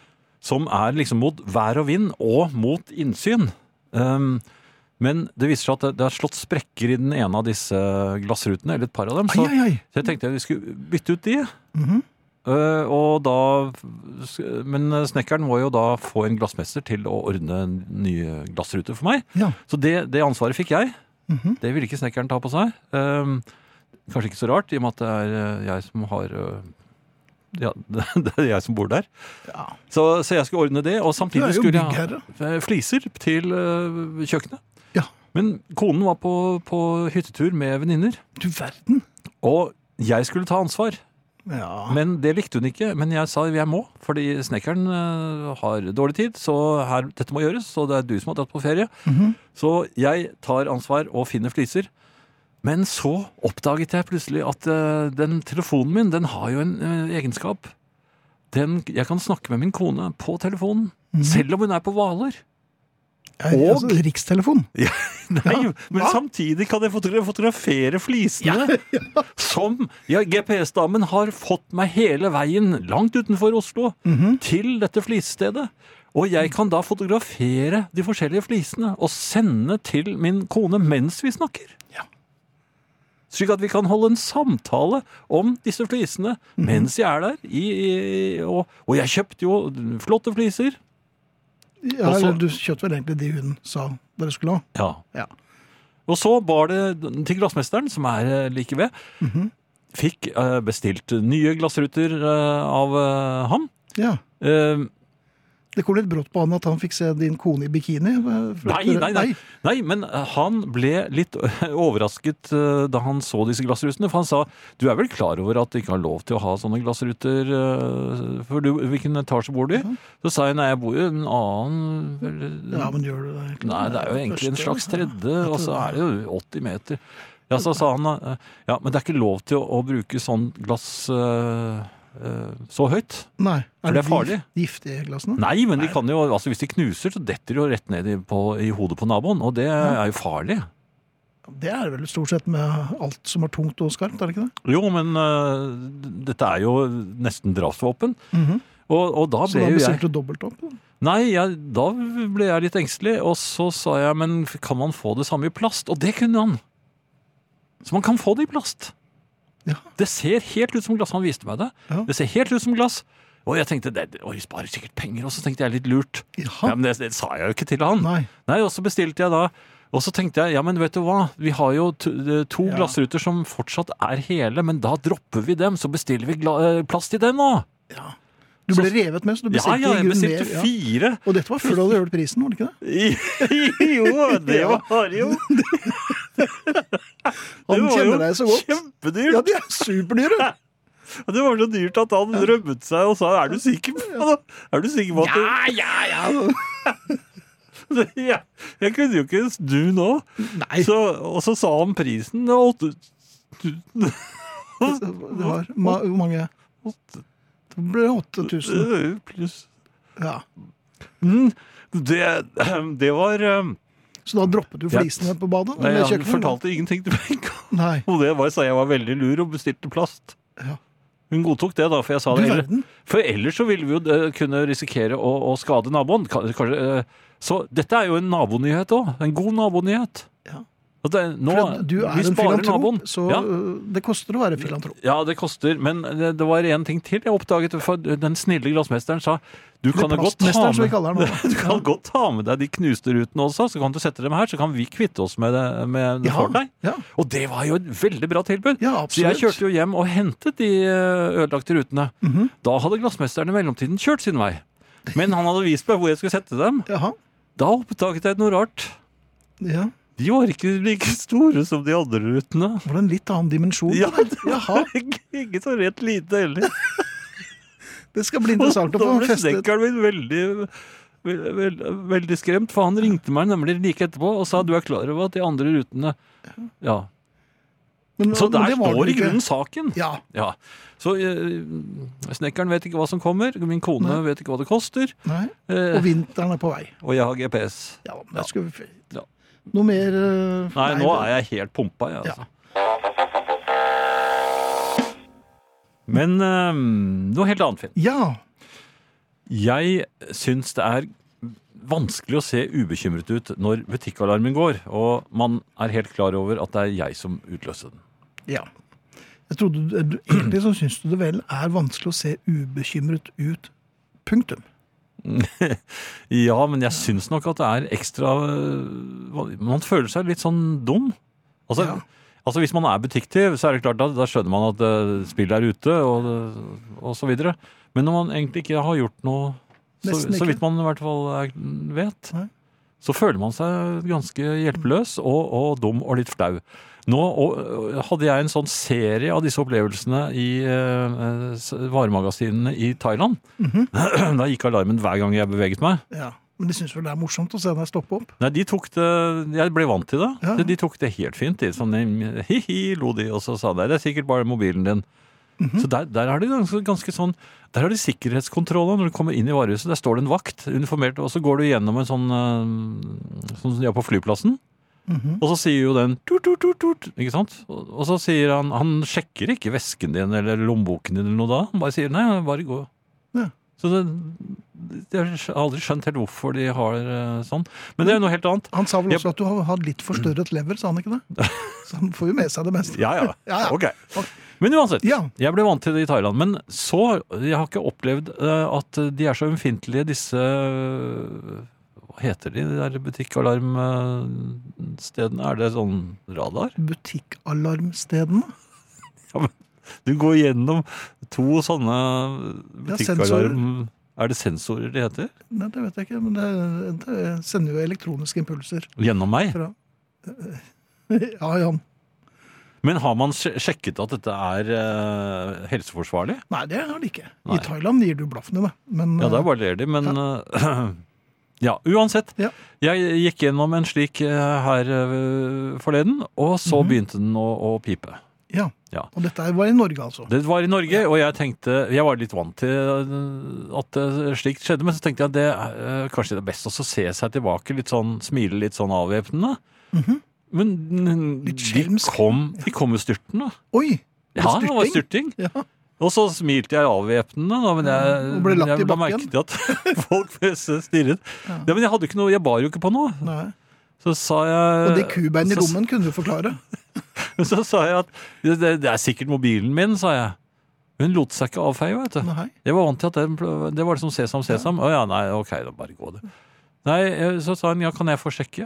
[SPEAKER 6] som er liksom mot vær og vind og mot innsyn. Um, men det viser seg at det, det er slått sprekker i den ene av disse glassrutene, eller et par av dem.
[SPEAKER 5] Ai,
[SPEAKER 6] Så,
[SPEAKER 5] ai, ai.
[SPEAKER 6] så jeg tenkte at vi skulle bytte ut de.
[SPEAKER 5] Mhm.
[SPEAKER 6] Eh, og da, men snekkeren må jo da få en glassmester til å ordne nye glassruter for meg.
[SPEAKER 5] Ja.
[SPEAKER 6] Så det, det ansvaret fikk jeg.
[SPEAKER 5] Mhm.
[SPEAKER 6] Det ville ikke snekkeren ta på seg. Ehm, kanskje ikke så rart, i og med at det er eh, jeg som har eh, Ja, <laughs> det er jeg som bor der.
[SPEAKER 5] Ja.
[SPEAKER 6] Så, så jeg skulle ordne det, og
[SPEAKER 5] Du
[SPEAKER 6] samtidig
[SPEAKER 5] er jo
[SPEAKER 6] skulle jeg
[SPEAKER 5] byggherre.
[SPEAKER 6] ha fliser til eh, kjøkkenet.
[SPEAKER 5] Ja.
[SPEAKER 6] Men konen var på, på hyttetur med venninner,
[SPEAKER 5] Du verden.
[SPEAKER 6] og jeg skulle ta ansvar.
[SPEAKER 5] Ja.
[SPEAKER 6] Men det likte hun ikke. Men jeg sa jeg må, fordi snekkeren eh, har dårlig tid. Så her, dette må gjøres, og det er du som har dratt på ferie. Så jeg tar ansvar og finner fliser. Men så oppdaget jeg plutselig at eh, den telefonen min, den har jo en eh, egenskap. Den, jeg kan snakke med min kone på telefonen, selv om hun er på Hvaler.
[SPEAKER 5] Jeg,
[SPEAKER 6] Og-
[SPEAKER 5] altså, rikstelefon.
[SPEAKER 6] Nei, men
[SPEAKER 5] hva?
[SPEAKER 6] samtidig kan jeg fotogra- fotografere flisene som ja, GPS-damen har fått meg hele veien langt utenfor Oslo til dette flisstedet. Og jeg kan da fotografere de forskjellige flisene og sende til min kone mens vi snakker. Slik at vi kan holde en samtale om disse flisene mens jeg er der. I, i, og, og jeg kjøpte jo flotte fliser.
[SPEAKER 5] Ja,
[SPEAKER 6] Og så-
[SPEAKER 5] eller du kjøpte vel egentlig de hun sa dere skulle ha.
[SPEAKER 6] Ja.
[SPEAKER 5] Ja.
[SPEAKER 6] Og så bar det til glassmesteren, som er eh, like ved.
[SPEAKER 5] Mhm.
[SPEAKER 6] Fikk eh, bestilt nye glassruter eh, av eh, ham.
[SPEAKER 5] Ja.
[SPEAKER 6] Eh,
[SPEAKER 5] Det kom litt brått på han at han fikk se din kone i bikini.
[SPEAKER 6] nei, nei, nei, nei, men eh, han ble litt overrasket eh, da han så disse glassrutene. For han sa du er vel klar over at du ikke har lov til å ha sånne glassruter? eh, For du, hvilken etasje bor du i? Så sa jeg nei, jeg bor jo i en annen eller,
[SPEAKER 5] Mhm. Ja, men gjør du det? egentlig?
[SPEAKER 6] Nei, det er jo egentlig en
[SPEAKER 5] Første,
[SPEAKER 6] slags
[SPEAKER 5] ja.
[SPEAKER 6] tredje, og så er det jo 80 meter. Ja, så sa han eh, ja, men det er ikke lov til å, å bruke sånn glass eh, eh, så høyt.
[SPEAKER 5] Nei.
[SPEAKER 6] For det er farlig.
[SPEAKER 5] gif- Giftige glassene?
[SPEAKER 6] Nei, men de kan jo, altså hvis de knuser, så detter de jo rett ned i, på, i hodet på naboen, og det er jo farlig.
[SPEAKER 5] Det er vel stort sett med alt som er tungt og skarpt, er det ikke det?
[SPEAKER 6] Jo, men eh, dette er jo nesten drapsvåpen. og, og da
[SPEAKER 5] Mhm. Så da
[SPEAKER 6] ble jo jeg
[SPEAKER 5] bestilte du dobbelt opp? da.
[SPEAKER 6] Nei, jeg, da ble jeg litt engstelig, og så sa jeg, men kan man få det samme i plast? Og det kunne han. Så man kan få det i plast.
[SPEAKER 5] Ja.
[SPEAKER 6] Det ser helt ut som glass, han viste meg det.
[SPEAKER 5] Ja.
[SPEAKER 6] Det ser helt ut som glass. Og jeg tenkte, det, det- oi, vi sparer sikkert penger, og så tenkte jeg litt lurt.
[SPEAKER 5] Jaha.
[SPEAKER 6] Ja, men det, det sa jeg jo ikke til han.
[SPEAKER 5] Nei.
[SPEAKER 6] Nei, og så bestilte jeg da Og så tenkte jeg ja, men vet du hva, vi har jo to, to glassruter som fortsatt er hele, men da dropper vi dem, så bestiller vi gla eh, plass til dem nå.
[SPEAKER 5] Du ble revet med, så du
[SPEAKER 6] Ja,
[SPEAKER 5] bestilte i
[SPEAKER 6] ja, jeg
[SPEAKER 5] grunnen
[SPEAKER 6] bestilte
[SPEAKER 5] mer, ja.
[SPEAKER 6] fire.
[SPEAKER 5] Og dette var før du hadde hørt prisen, var det ikke det?
[SPEAKER 6] <laughs> jo, det var jo
[SPEAKER 5] <laughs> Han
[SPEAKER 6] Det var jo
[SPEAKER 5] kjenner deg så godt.
[SPEAKER 6] Kjempedyrt.
[SPEAKER 5] Ja, de er superdyre!
[SPEAKER 6] Det var så dyrt at han rømmet seg og sa 'er du sikker på det?' Er du sikker på at du...
[SPEAKER 5] ja, ja.
[SPEAKER 6] <laughs> Ja, Jeg kunne jo ikke snu nå. Så, og så sa han prisen. det var åtte-
[SPEAKER 5] Det var ma hvor mange? Det ble 8000.
[SPEAKER 6] øh, pluss.
[SPEAKER 5] Ja.
[SPEAKER 6] Mm, Det, det var eh,
[SPEAKER 5] Så da droppet du
[SPEAKER 6] Ja.
[SPEAKER 5] flisene på badet?
[SPEAKER 6] Nei,
[SPEAKER 5] eller
[SPEAKER 6] han
[SPEAKER 5] kjøkkenet?
[SPEAKER 6] fortalte ingenting til meg
[SPEAKER 5] Nei.
[SPEAKER 6] om det. Bare sa jeg var veldig lur og bestilte plast.
[SPEAKER 5] Ja.
[SPEAKER 6] Hun godtok det, da, for jeg sa
[SPEAKER 5] Du
[SPEAKER 6] det. eller-
[SPEAKER 5] verden.
[SPEAKER 6] For ellers så ville vi jo eh, kunne risikere å, å skade naboen. Ka- Kanskje, eh, så dette er jo en nabonyhet òg. En god nabonyhet.
[SPEAKER 5] Ja.
[SPEAKER 6] At det, nå,
[SPEAKER 5] For du
[SPEAKER 6] vi
[SPEAKER 5] er en
[SPEAKER 6] sparer
[SPEAKER 5] filantrop,
[SPEAKER 6] naboen.
[SPEAKER 5] så
[SPEAKER 6] ja.
[SPEAKER 5] øh, det koster å være filantrop.
[SPEAKER 6] ja, det koster. Men det, det var én ting til jeg oppdaget. For den snille glassmesteren sa du kan, jo godt ta
[SPEAKER 5] Plastmesteren, som vi
[SPEAKER 6] med,
[SPEAKER 5] kaller den
[SPEAKER 6] <laughs> du
[SPEAKER 5] nå.
[SPEAKER 6] kan godt ta med deg de knuste rutene også, så kan du sette dem her. Så kan vi kvitte oss med det, med det
[SPEAKER 5] Ja,
[SPEAKER 6] for deg.
[SPEAKER 5] ja.
[SPEAKER 6] Og det var jo et veldig bra tilbud.
[SPEAKER 5] Ja,
[SPEAKER 6] Så
[SPEAKER 5] absolutt.
[SPEAKER 6] jeg kjørte jo hjem og hentet de eh, ødelagte rutene.
[SPEAKER 5] Mhm.
[SPEAKER 6] Da hadde glassmesteren i mellomtiden kjørt sin vei. Men han hadde vist meg hvor jeg skulle sette dem.
[SPEAKER 5] Jaha.
[SPEAKER 6] Da oppdaget jeg noe rart.
[SPEAKER 5] Ja.
[SPEAKER 6] De var ikke like store som de andre rutene.
[SPEAKER 5] Var det en litt annen dimensjon?
[SPEAKER 6] Ja, <laughs> det
[SPEAKER 5] <laughs> Jaha.
[SPEAKER 6] Ikke så rett lite heller.
[SPEAKER 5] Det skal bli
[SPEAKER 6] Og
[SPEAKER 5] interessant å
[SPEAKER 6] Da
[SPEAKER 5] få
[SPEAKER 6] ble
[SPEAKER 5] festet.
[SPEAKER 6] snekkeren min veldig vel- vel- Veldig skremt, for han ringte meg nemlig like etterpå og sa du er klar over at de andre rutene Ja.
[SPEAKER 5] Men,
[SPEAKER 6] Så
[SPEAKER 5] men
[SPEAKER 6] der
[SPEAKER 5] det var
[SPEAKER 6] står
[SPEAKER 5] det
[SPEAKER 6] i
[SPEAKER 5] ikke.
[SPEAKER 6] grunnen saken.
[SPEAKER 5] Ja.
[SPEAKER 6] Ja. Så eh, snekkeren vet ikke hva som kommer, min kone vet ikke hva det koster,
[SPEAKER 5] Nei.
[SPEAKER 6] eh,
[SPEAKER 5] Og vinteren er på vei.
[SPEAKER 6] og jeg har GPS.
[SPEAKER 5] Ja, men det skulle vi...
[SPEAKER 6] Ja.
[SPEAKER 5] Noe mer øh,
[SPEAKER 6] Nei, nå
[SPEAKER 5] det-
[SPEAKER 6] er jeg helt pumpa, jeg, altså.
[SPEAKER 5] Ja.
[SPEAKER 6] Men eh, noe helt annet, Finn.
[SPEAKER 5] Ja.
[SPEAKER 6] Jeg syns det er vanskelig å se ubekymret ut når butikkalarmen går, og man er helt klar over at det er jeg som utløste den.
[SPEAKER 5] ja. Jeg trodde, du- eh, du, egentlig så syns du det vel er vanskelig å se ubekymret ut. Punktum.
[SPEAKER 6] Ja, men jeg syns nok at det er ekstra øh, Man føler seg litt sånn dum. Altså,
[SPEAKER 5] Ja.
[SPEAKER 6] altså hvis man er butikktyv, så er det klart da, da skjønner man at øh, spillet er ute, og, øh, og så videre. Men når man egentlig ikke har gjort noe så,
[SPEAKER 5] Nesten
[SPEAKER 6] så
[SPEAKER 5] ikke.
[SPEAKER 6] vidt man i hvert fall er, vet,
[SPEAKER 5] Nei.
[SPEAKER 6] så føler man seg ganske hjelpeløs og, og dum og litt flau. Nå og, øh, hadde jeg en sånn serie av disse opplevelsene i øh, øh, s- varemagasinene i Thailand.
[SPEAKER 5] Mhm.
[SPEAKER 6] <clears throat> Da gikk alarmen hver gang jeg beveget meg.
[SPEAKER 5] Ja. Men de syns vel det er morsomt å se deg stoppe opp?
[SPEAKER 6] Nei, de tok det Jeg ble vant til det.
[SPEAKER 5] Ja.
[SPEAKER 6] De- De tok det helt fint. De, sånn, hi-hi, lo de, og så sa de det er sikkert bare mobilen din.
[SPEAKER 5] Mhm.
[SPEAKER 6] Så der, der er det ganske, ganske sånn Der har de sikkerhetskontroller når du kommer inn i varehuset. Der står det en vakt, uniformert, og så går du gjennom en sånn eh, Sånn som de har på flyplassen.
[SPEAKER 5] Mhm.
[SPEAKER 6] Og så sier jo den tut, tut, tut, tut, ikke sant? Og og så sier han Han sjekker ikke vesken din eller lommeboken din eller noe da. Han bare sier nei, bare gå.
[SPEAKER 5] Ja.
[SPEAKER 6] Så det, jeg har aldri skjønt helt hvorfor de har eh, sånn. Men det er jo noe helt annet.
[SPEAKER 5] Han sa vel
[SPEAKER 6] Jeg-
[SPEAKER 5] også at du har hatt litt forstørret lever, sa han ikke
[SPEAKER 6] <laughs>
[SPEAKER 5] det? Så han får jo med seg det meste.
[SPEAKER 6] Ja, ja.
[SPEAKER 5] Ja, ja.
[SPEAKER 6] Ok. Men uansett,
[SPEAKER 5] Ja.
[SPEAKER 6] jeg ble vant til det i Thailand. Men så Jeg har ikke opplevd eh, at de er så ømfintlige, disse eh, Hva heter de, de der butikkalarmstedene? Er det sånn radar?
[SPEAKER 5] Butikkalarmstedene.
[SPEAKER 6] Ja, men du går gjennom to sånne
[SPEAKER 5] sensorer.
[SPEAKER 6] butikkalarm... er det sensorer de heter?
[SPEAKER 5] Nei, det vet jeg ikke, men det, det sender jo elektroniske impulser <laughs>
[SPEAKER 6] Gjennom meg?
[SPEAKER 5] fra Ja, Jan.
[SPEAKER 6] Men har man sj- sjekket at dette er eh, helseforsvarlig?
[SPEAKER 5] Nei, det har de ikke.
[SPEAKER 6] Nei.
[SPEAKER 5] I Thailand gir du blaffen i det. Men
[SPEAKER 6] Ja, der bare ler de, men eh, <clears throat> Ja, uansett.
[SPEAKER 5] eh, Ja.
[SPEAKER 6] Jeg gikk gjennom en slik eh, her eh, forleden, og så
[SPEAKER 5] Mhm.
[SPEAKER 6] begynte den å, å pipe.
[SPEAKER 5] ja.
[SPEAKER 6] Ja.
[SPEAKER 5] Og dette var i Norge, altså.
[SPEAKER 6] Det var i Norge, og jeg tenkte Jeg var litt vant til eh, at eh, slikt skjedde, men så tenkte jeg at det eh, kanskje det er best også å se seg tilbake, litt sånn, smile litt sånn avvæpnende. Men
[SPEAKER 5] Mhm. Litt
[SPEAKER 6] de
[SPEAKER 5] skjelmsk.
[SPEAKER 6] kom, de kom jo styrtende.
[SPEAKER 5] Oi! det
[SPEAKER 6] Ja,
[SPEAKER 5] var
[SPEAKER 6] det var styrting.
[SPEAKER 5] Ja.
[SPEAKER 6] Og så smilte jeg avvæpnende, da, men jeg,
[SPEAKER 5] og ble lagt
[SPEAKER 6] jeg
[SPEAKER 5] i
[SPEAKER 6] la
[SPEAKER 5] bakken.
[SPEAKER 6] merke til at <laughs> folk stirret. Ja, men jeg hadde ikke noe, jeg bar jo ikke på noe.
[SPEAKER 5] Nei.
[SPEAKER 6] Så sa jeg
[SPEAKER 5] Og det kubeinet i
[SPEAKER 6] Eh, så-
[SPEAKER 5] lommen kunne du forklare.
[SPEAKER 6] <laughs> Så sa jeg at det, det er sikkert mobilen min, sa jeg. Hun lot seg ikke avfeie, vet du.
[SPEAKER 5] Nei.
[SPEAKER 6] Jeg var vant til at den, pl- det var det som sesam,
[SPEAKER 5] Mhm.
[SPEAKER 6] sesam. Å ja, nei, ok, da bare gå det. Nei, eh, så sa hun ja, kan jeg få sjekke?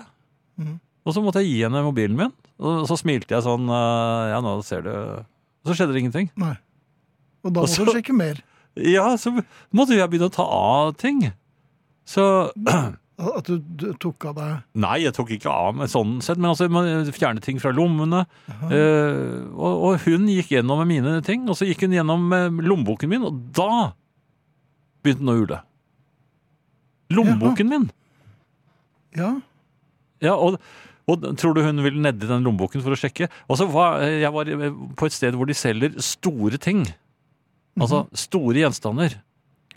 [SPEAKER 6] Og så måtte jeg gi henne mobilen min. Og så smilte jeg sånn eh, Ja, nå ser du Og så skjedde det ingenting.
[SPEAKER 5] Nei. Og da må
[SPEAKER 6] Og så-
[SPEAKER 5] du sjekke mer.
[SPEAKER 6] Ja, så måtte jeg begynne å ta av ting. Så
[SPEAKER 5] At du, du tok av deg
[SPEAKER 6] Nei, jeg tok ikke av meg sånn sett, men altså, man fjernet ting fra lommene. Eh, og, og hun gikk gjennom med mine ting, og så gikk hun gjennom med lommeboken min, og da begynte hun å ule. Lommeboken min!
[SPEAKER 5] Ja.
[SPEAKER 6] Ja, og, og tror du hun vil nedi den lommeboken for å sjekke? Og så var eh, jeg var på et sted hvor de selger store ting. Altså store gjenstander.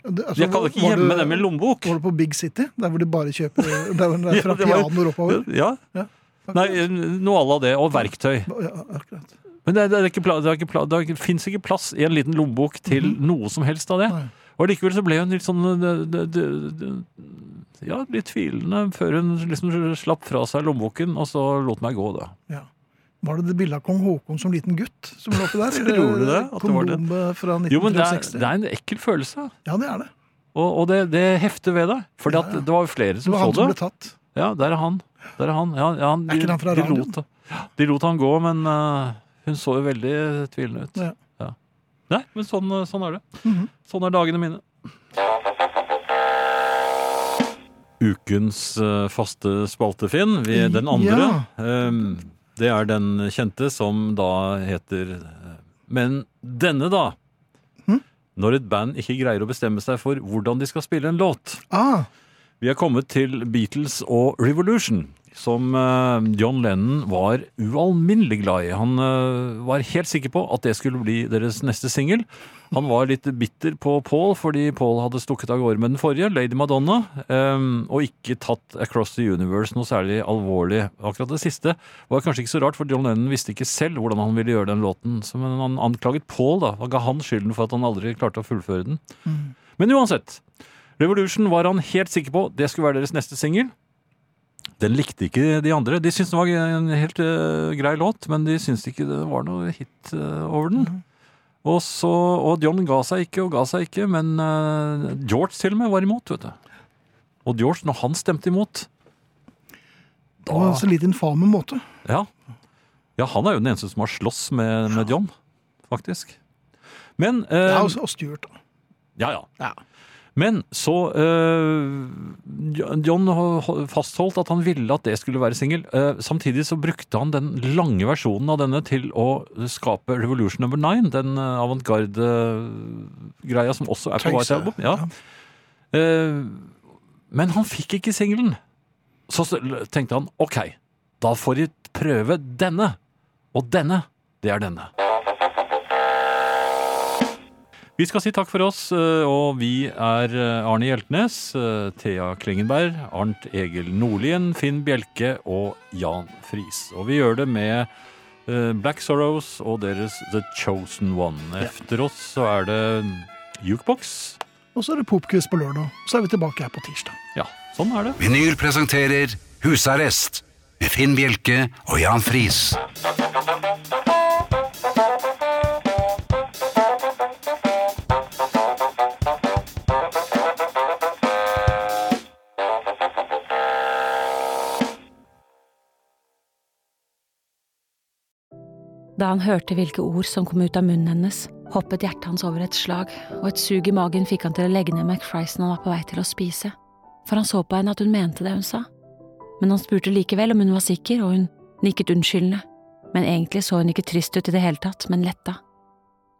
[SPEAKER 5] Det- altså,
[SPEAKER 6] Jeg
[SPEAKER 5] Mhm.
[SPEAKER 6] kan
[SPEAKER 5] var-
[SPEAKER 6] ikke
[SPEAKER 5] var du-
[SPEAKER 6] gjemme dem i lommebok.
[SPEAKER 5] Var du på Big City, der hvor de bare kjøper der hvor det er fra
[SPEAKER 6] <laughs> Ja, det var-
[SPEAKER 5] pianoer oppover?
[SPEAKER 6] Ja.
[SPEAKER 5] Ja.
[SPEAKER 6] Nei, noe à la det, og verktøy.
[SPEAKER 5] Ja, akkurat.
[SPEAKER 6] Men det, det, er ikke, pla- det, er ikke, pla- det er ikke- finnes ikke plass i en liten lommebok til noe som helst av det.
[SPEAKER 5] Mhm. Nei.
[SPEAKER 6] Og likevel så ble hun litt sånn det, det, det, det, Ja, litt tvilende før hun liksom slapp fra seg lommeboken, og så lot meg gå, da.
[SPEAKER 5] Ja. Var det det bildet av kong Haakon som liten gutt som lå oppi der?
[SPEAKER 6] <laughs> Tror du det, at det var det?
[SPEAKER 5] Kondom eh, fra 1960?
[SPEAKER 6] Jo, men det er, det er en ekkel følelse,
[SPEAKER 5] Ja, det er det.
[SPEAKER 6] og, og det, det hefter ved deg. For
[SPEAKER 5] Ja, ja.
[SPEAKER 6] det var jo flere
[SPEAKER 5] Det
[SPEAKER 6] som
[SPEAKER 5] var han
[SPEAKER 6] så
[SPEAKER 5] som ble
[SPEAKER 6] det.
[SPEAKER 5] tatt.
[SPEAKER 6] Ja, der er han. Der er han. Ja, ja, han
[SPEAKER 5] Er ikke han fra
[SPEAKER 6] de,
[SPEAKER 5] radioen?
[SPEAKER 6] lot, ja, de lot han gå, men eh, hun så jo veldig tvilende ut.
[SPEAKER 5] Ja. Mhm.
[SPEAKER 6] Ja. Nei, men sånn, sånn er det. Sånn er dagene mine. Ukens eh, faste spalte, Finn. Vi, den andre. eh, det er den kjente som da heter eh, Men denne, da.
[SPEAKER 5] Hm?
[SPEAKER 6] Når et band ikke greier å bestemme seg for hvordan de skal spille en låt.
[SPEAKER 5] Ah,
[SPEAKER 6] Vi er kommet til Beatles og Revolution, som eh, John Lennon var ualminnelig glad i. Han eh, var helt sikker på at det skulle bli deres neste singel. Han var litt bitter på Paul fordi Paul hadde stukket av gårde med den forrige, Lady Madonna, eh, og ikke tatt Across the Universe noe særlig alvorlig. Akkurat det siste var kanskje ikke så rart, for John Lennon visste ikke selv hvordan han ville gjøre den låten. Så, Men han anklaget Paul, da. Han ga han skylden for at han aldri klarte å fullføre den. Men uansett. Revolution var han helt sikker på det skulle være deres neste singel. Den likte ikke de andre. De syntes det var en helt eh, grei låt, men de syntes ikke det var noe hit eh, over den. Og, så, og John ga seg ikke og ga seg ikke, men eh, George til og med var imot, vet du. Og George, når han stemte imot
[SPEAKER 5] det var en så litt infame måte.
[SPEAKER 6] ja. ja, han er jo den eneste som har slåss med, med John, faktisk. Men eh,
[SPEAKER 5] Ja, og, og styrt. da.
[SPEAKER 6] Ja, ja. Men så øh, John ho- fastholdt at han ville at det skulle være singel. Eh, samtidig så brukte han den lange versjonen av denne til å skape Revolution Number 9, den eh, avantgarde-greia som også er på
[SPEAKER 5] Tøyse,
[SPEAKER 6] White Album. Ja. Eh, men han fikk ikke singelen. Så s- l- tenkte han OK, da får de prøve denne. Og denne, det er denne. Vi skal si takk for oss, eh, og vi er eh, Arne Hjeltnes, eh, Thea Klingenberg, Arnt Egil Nordlien, Finn Bjelke og Jan Friis. Og vi gjør det med eh, Black Sorrows og deres The Chosen One. Efter oss så er det mm, Jukebox.
[SPEAKER 5] Og så er det popquiz på lørdag. Så er vi tilbake her på tirsdag.
[SPEAKER 6] Ja, sånn er det.
[SPEAKER 4] Vinyl presenterer Husarrest med Finn Bjelke og Jan Friis.
[SPEAKER 9] Da han hørte hvilke ord som kom ut av munnen hennes, hoppet hjertet hans over et slag, og et sug i magen fikk han til å legge ned McFriesen han var på vei til å spise, for han så på henne at hun mente det hun sa. Men han spurte likevel om hun var sikker, og hun nikket unnskyldende, men egentlig så hun ikke trist ut i det hele tatt, men letta.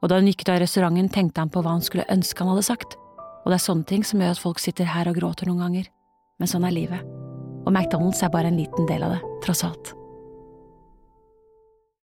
[SPEAKER 9] Og da hun gikk ut av restauranten, tenkte han på hva han skulle ønske han hadde sagt, og det er sånne ting som gjør at folk sitter her og gråter noen ganger, men sånn er livet, og McDonald's er bare en liten del av det, tross alt.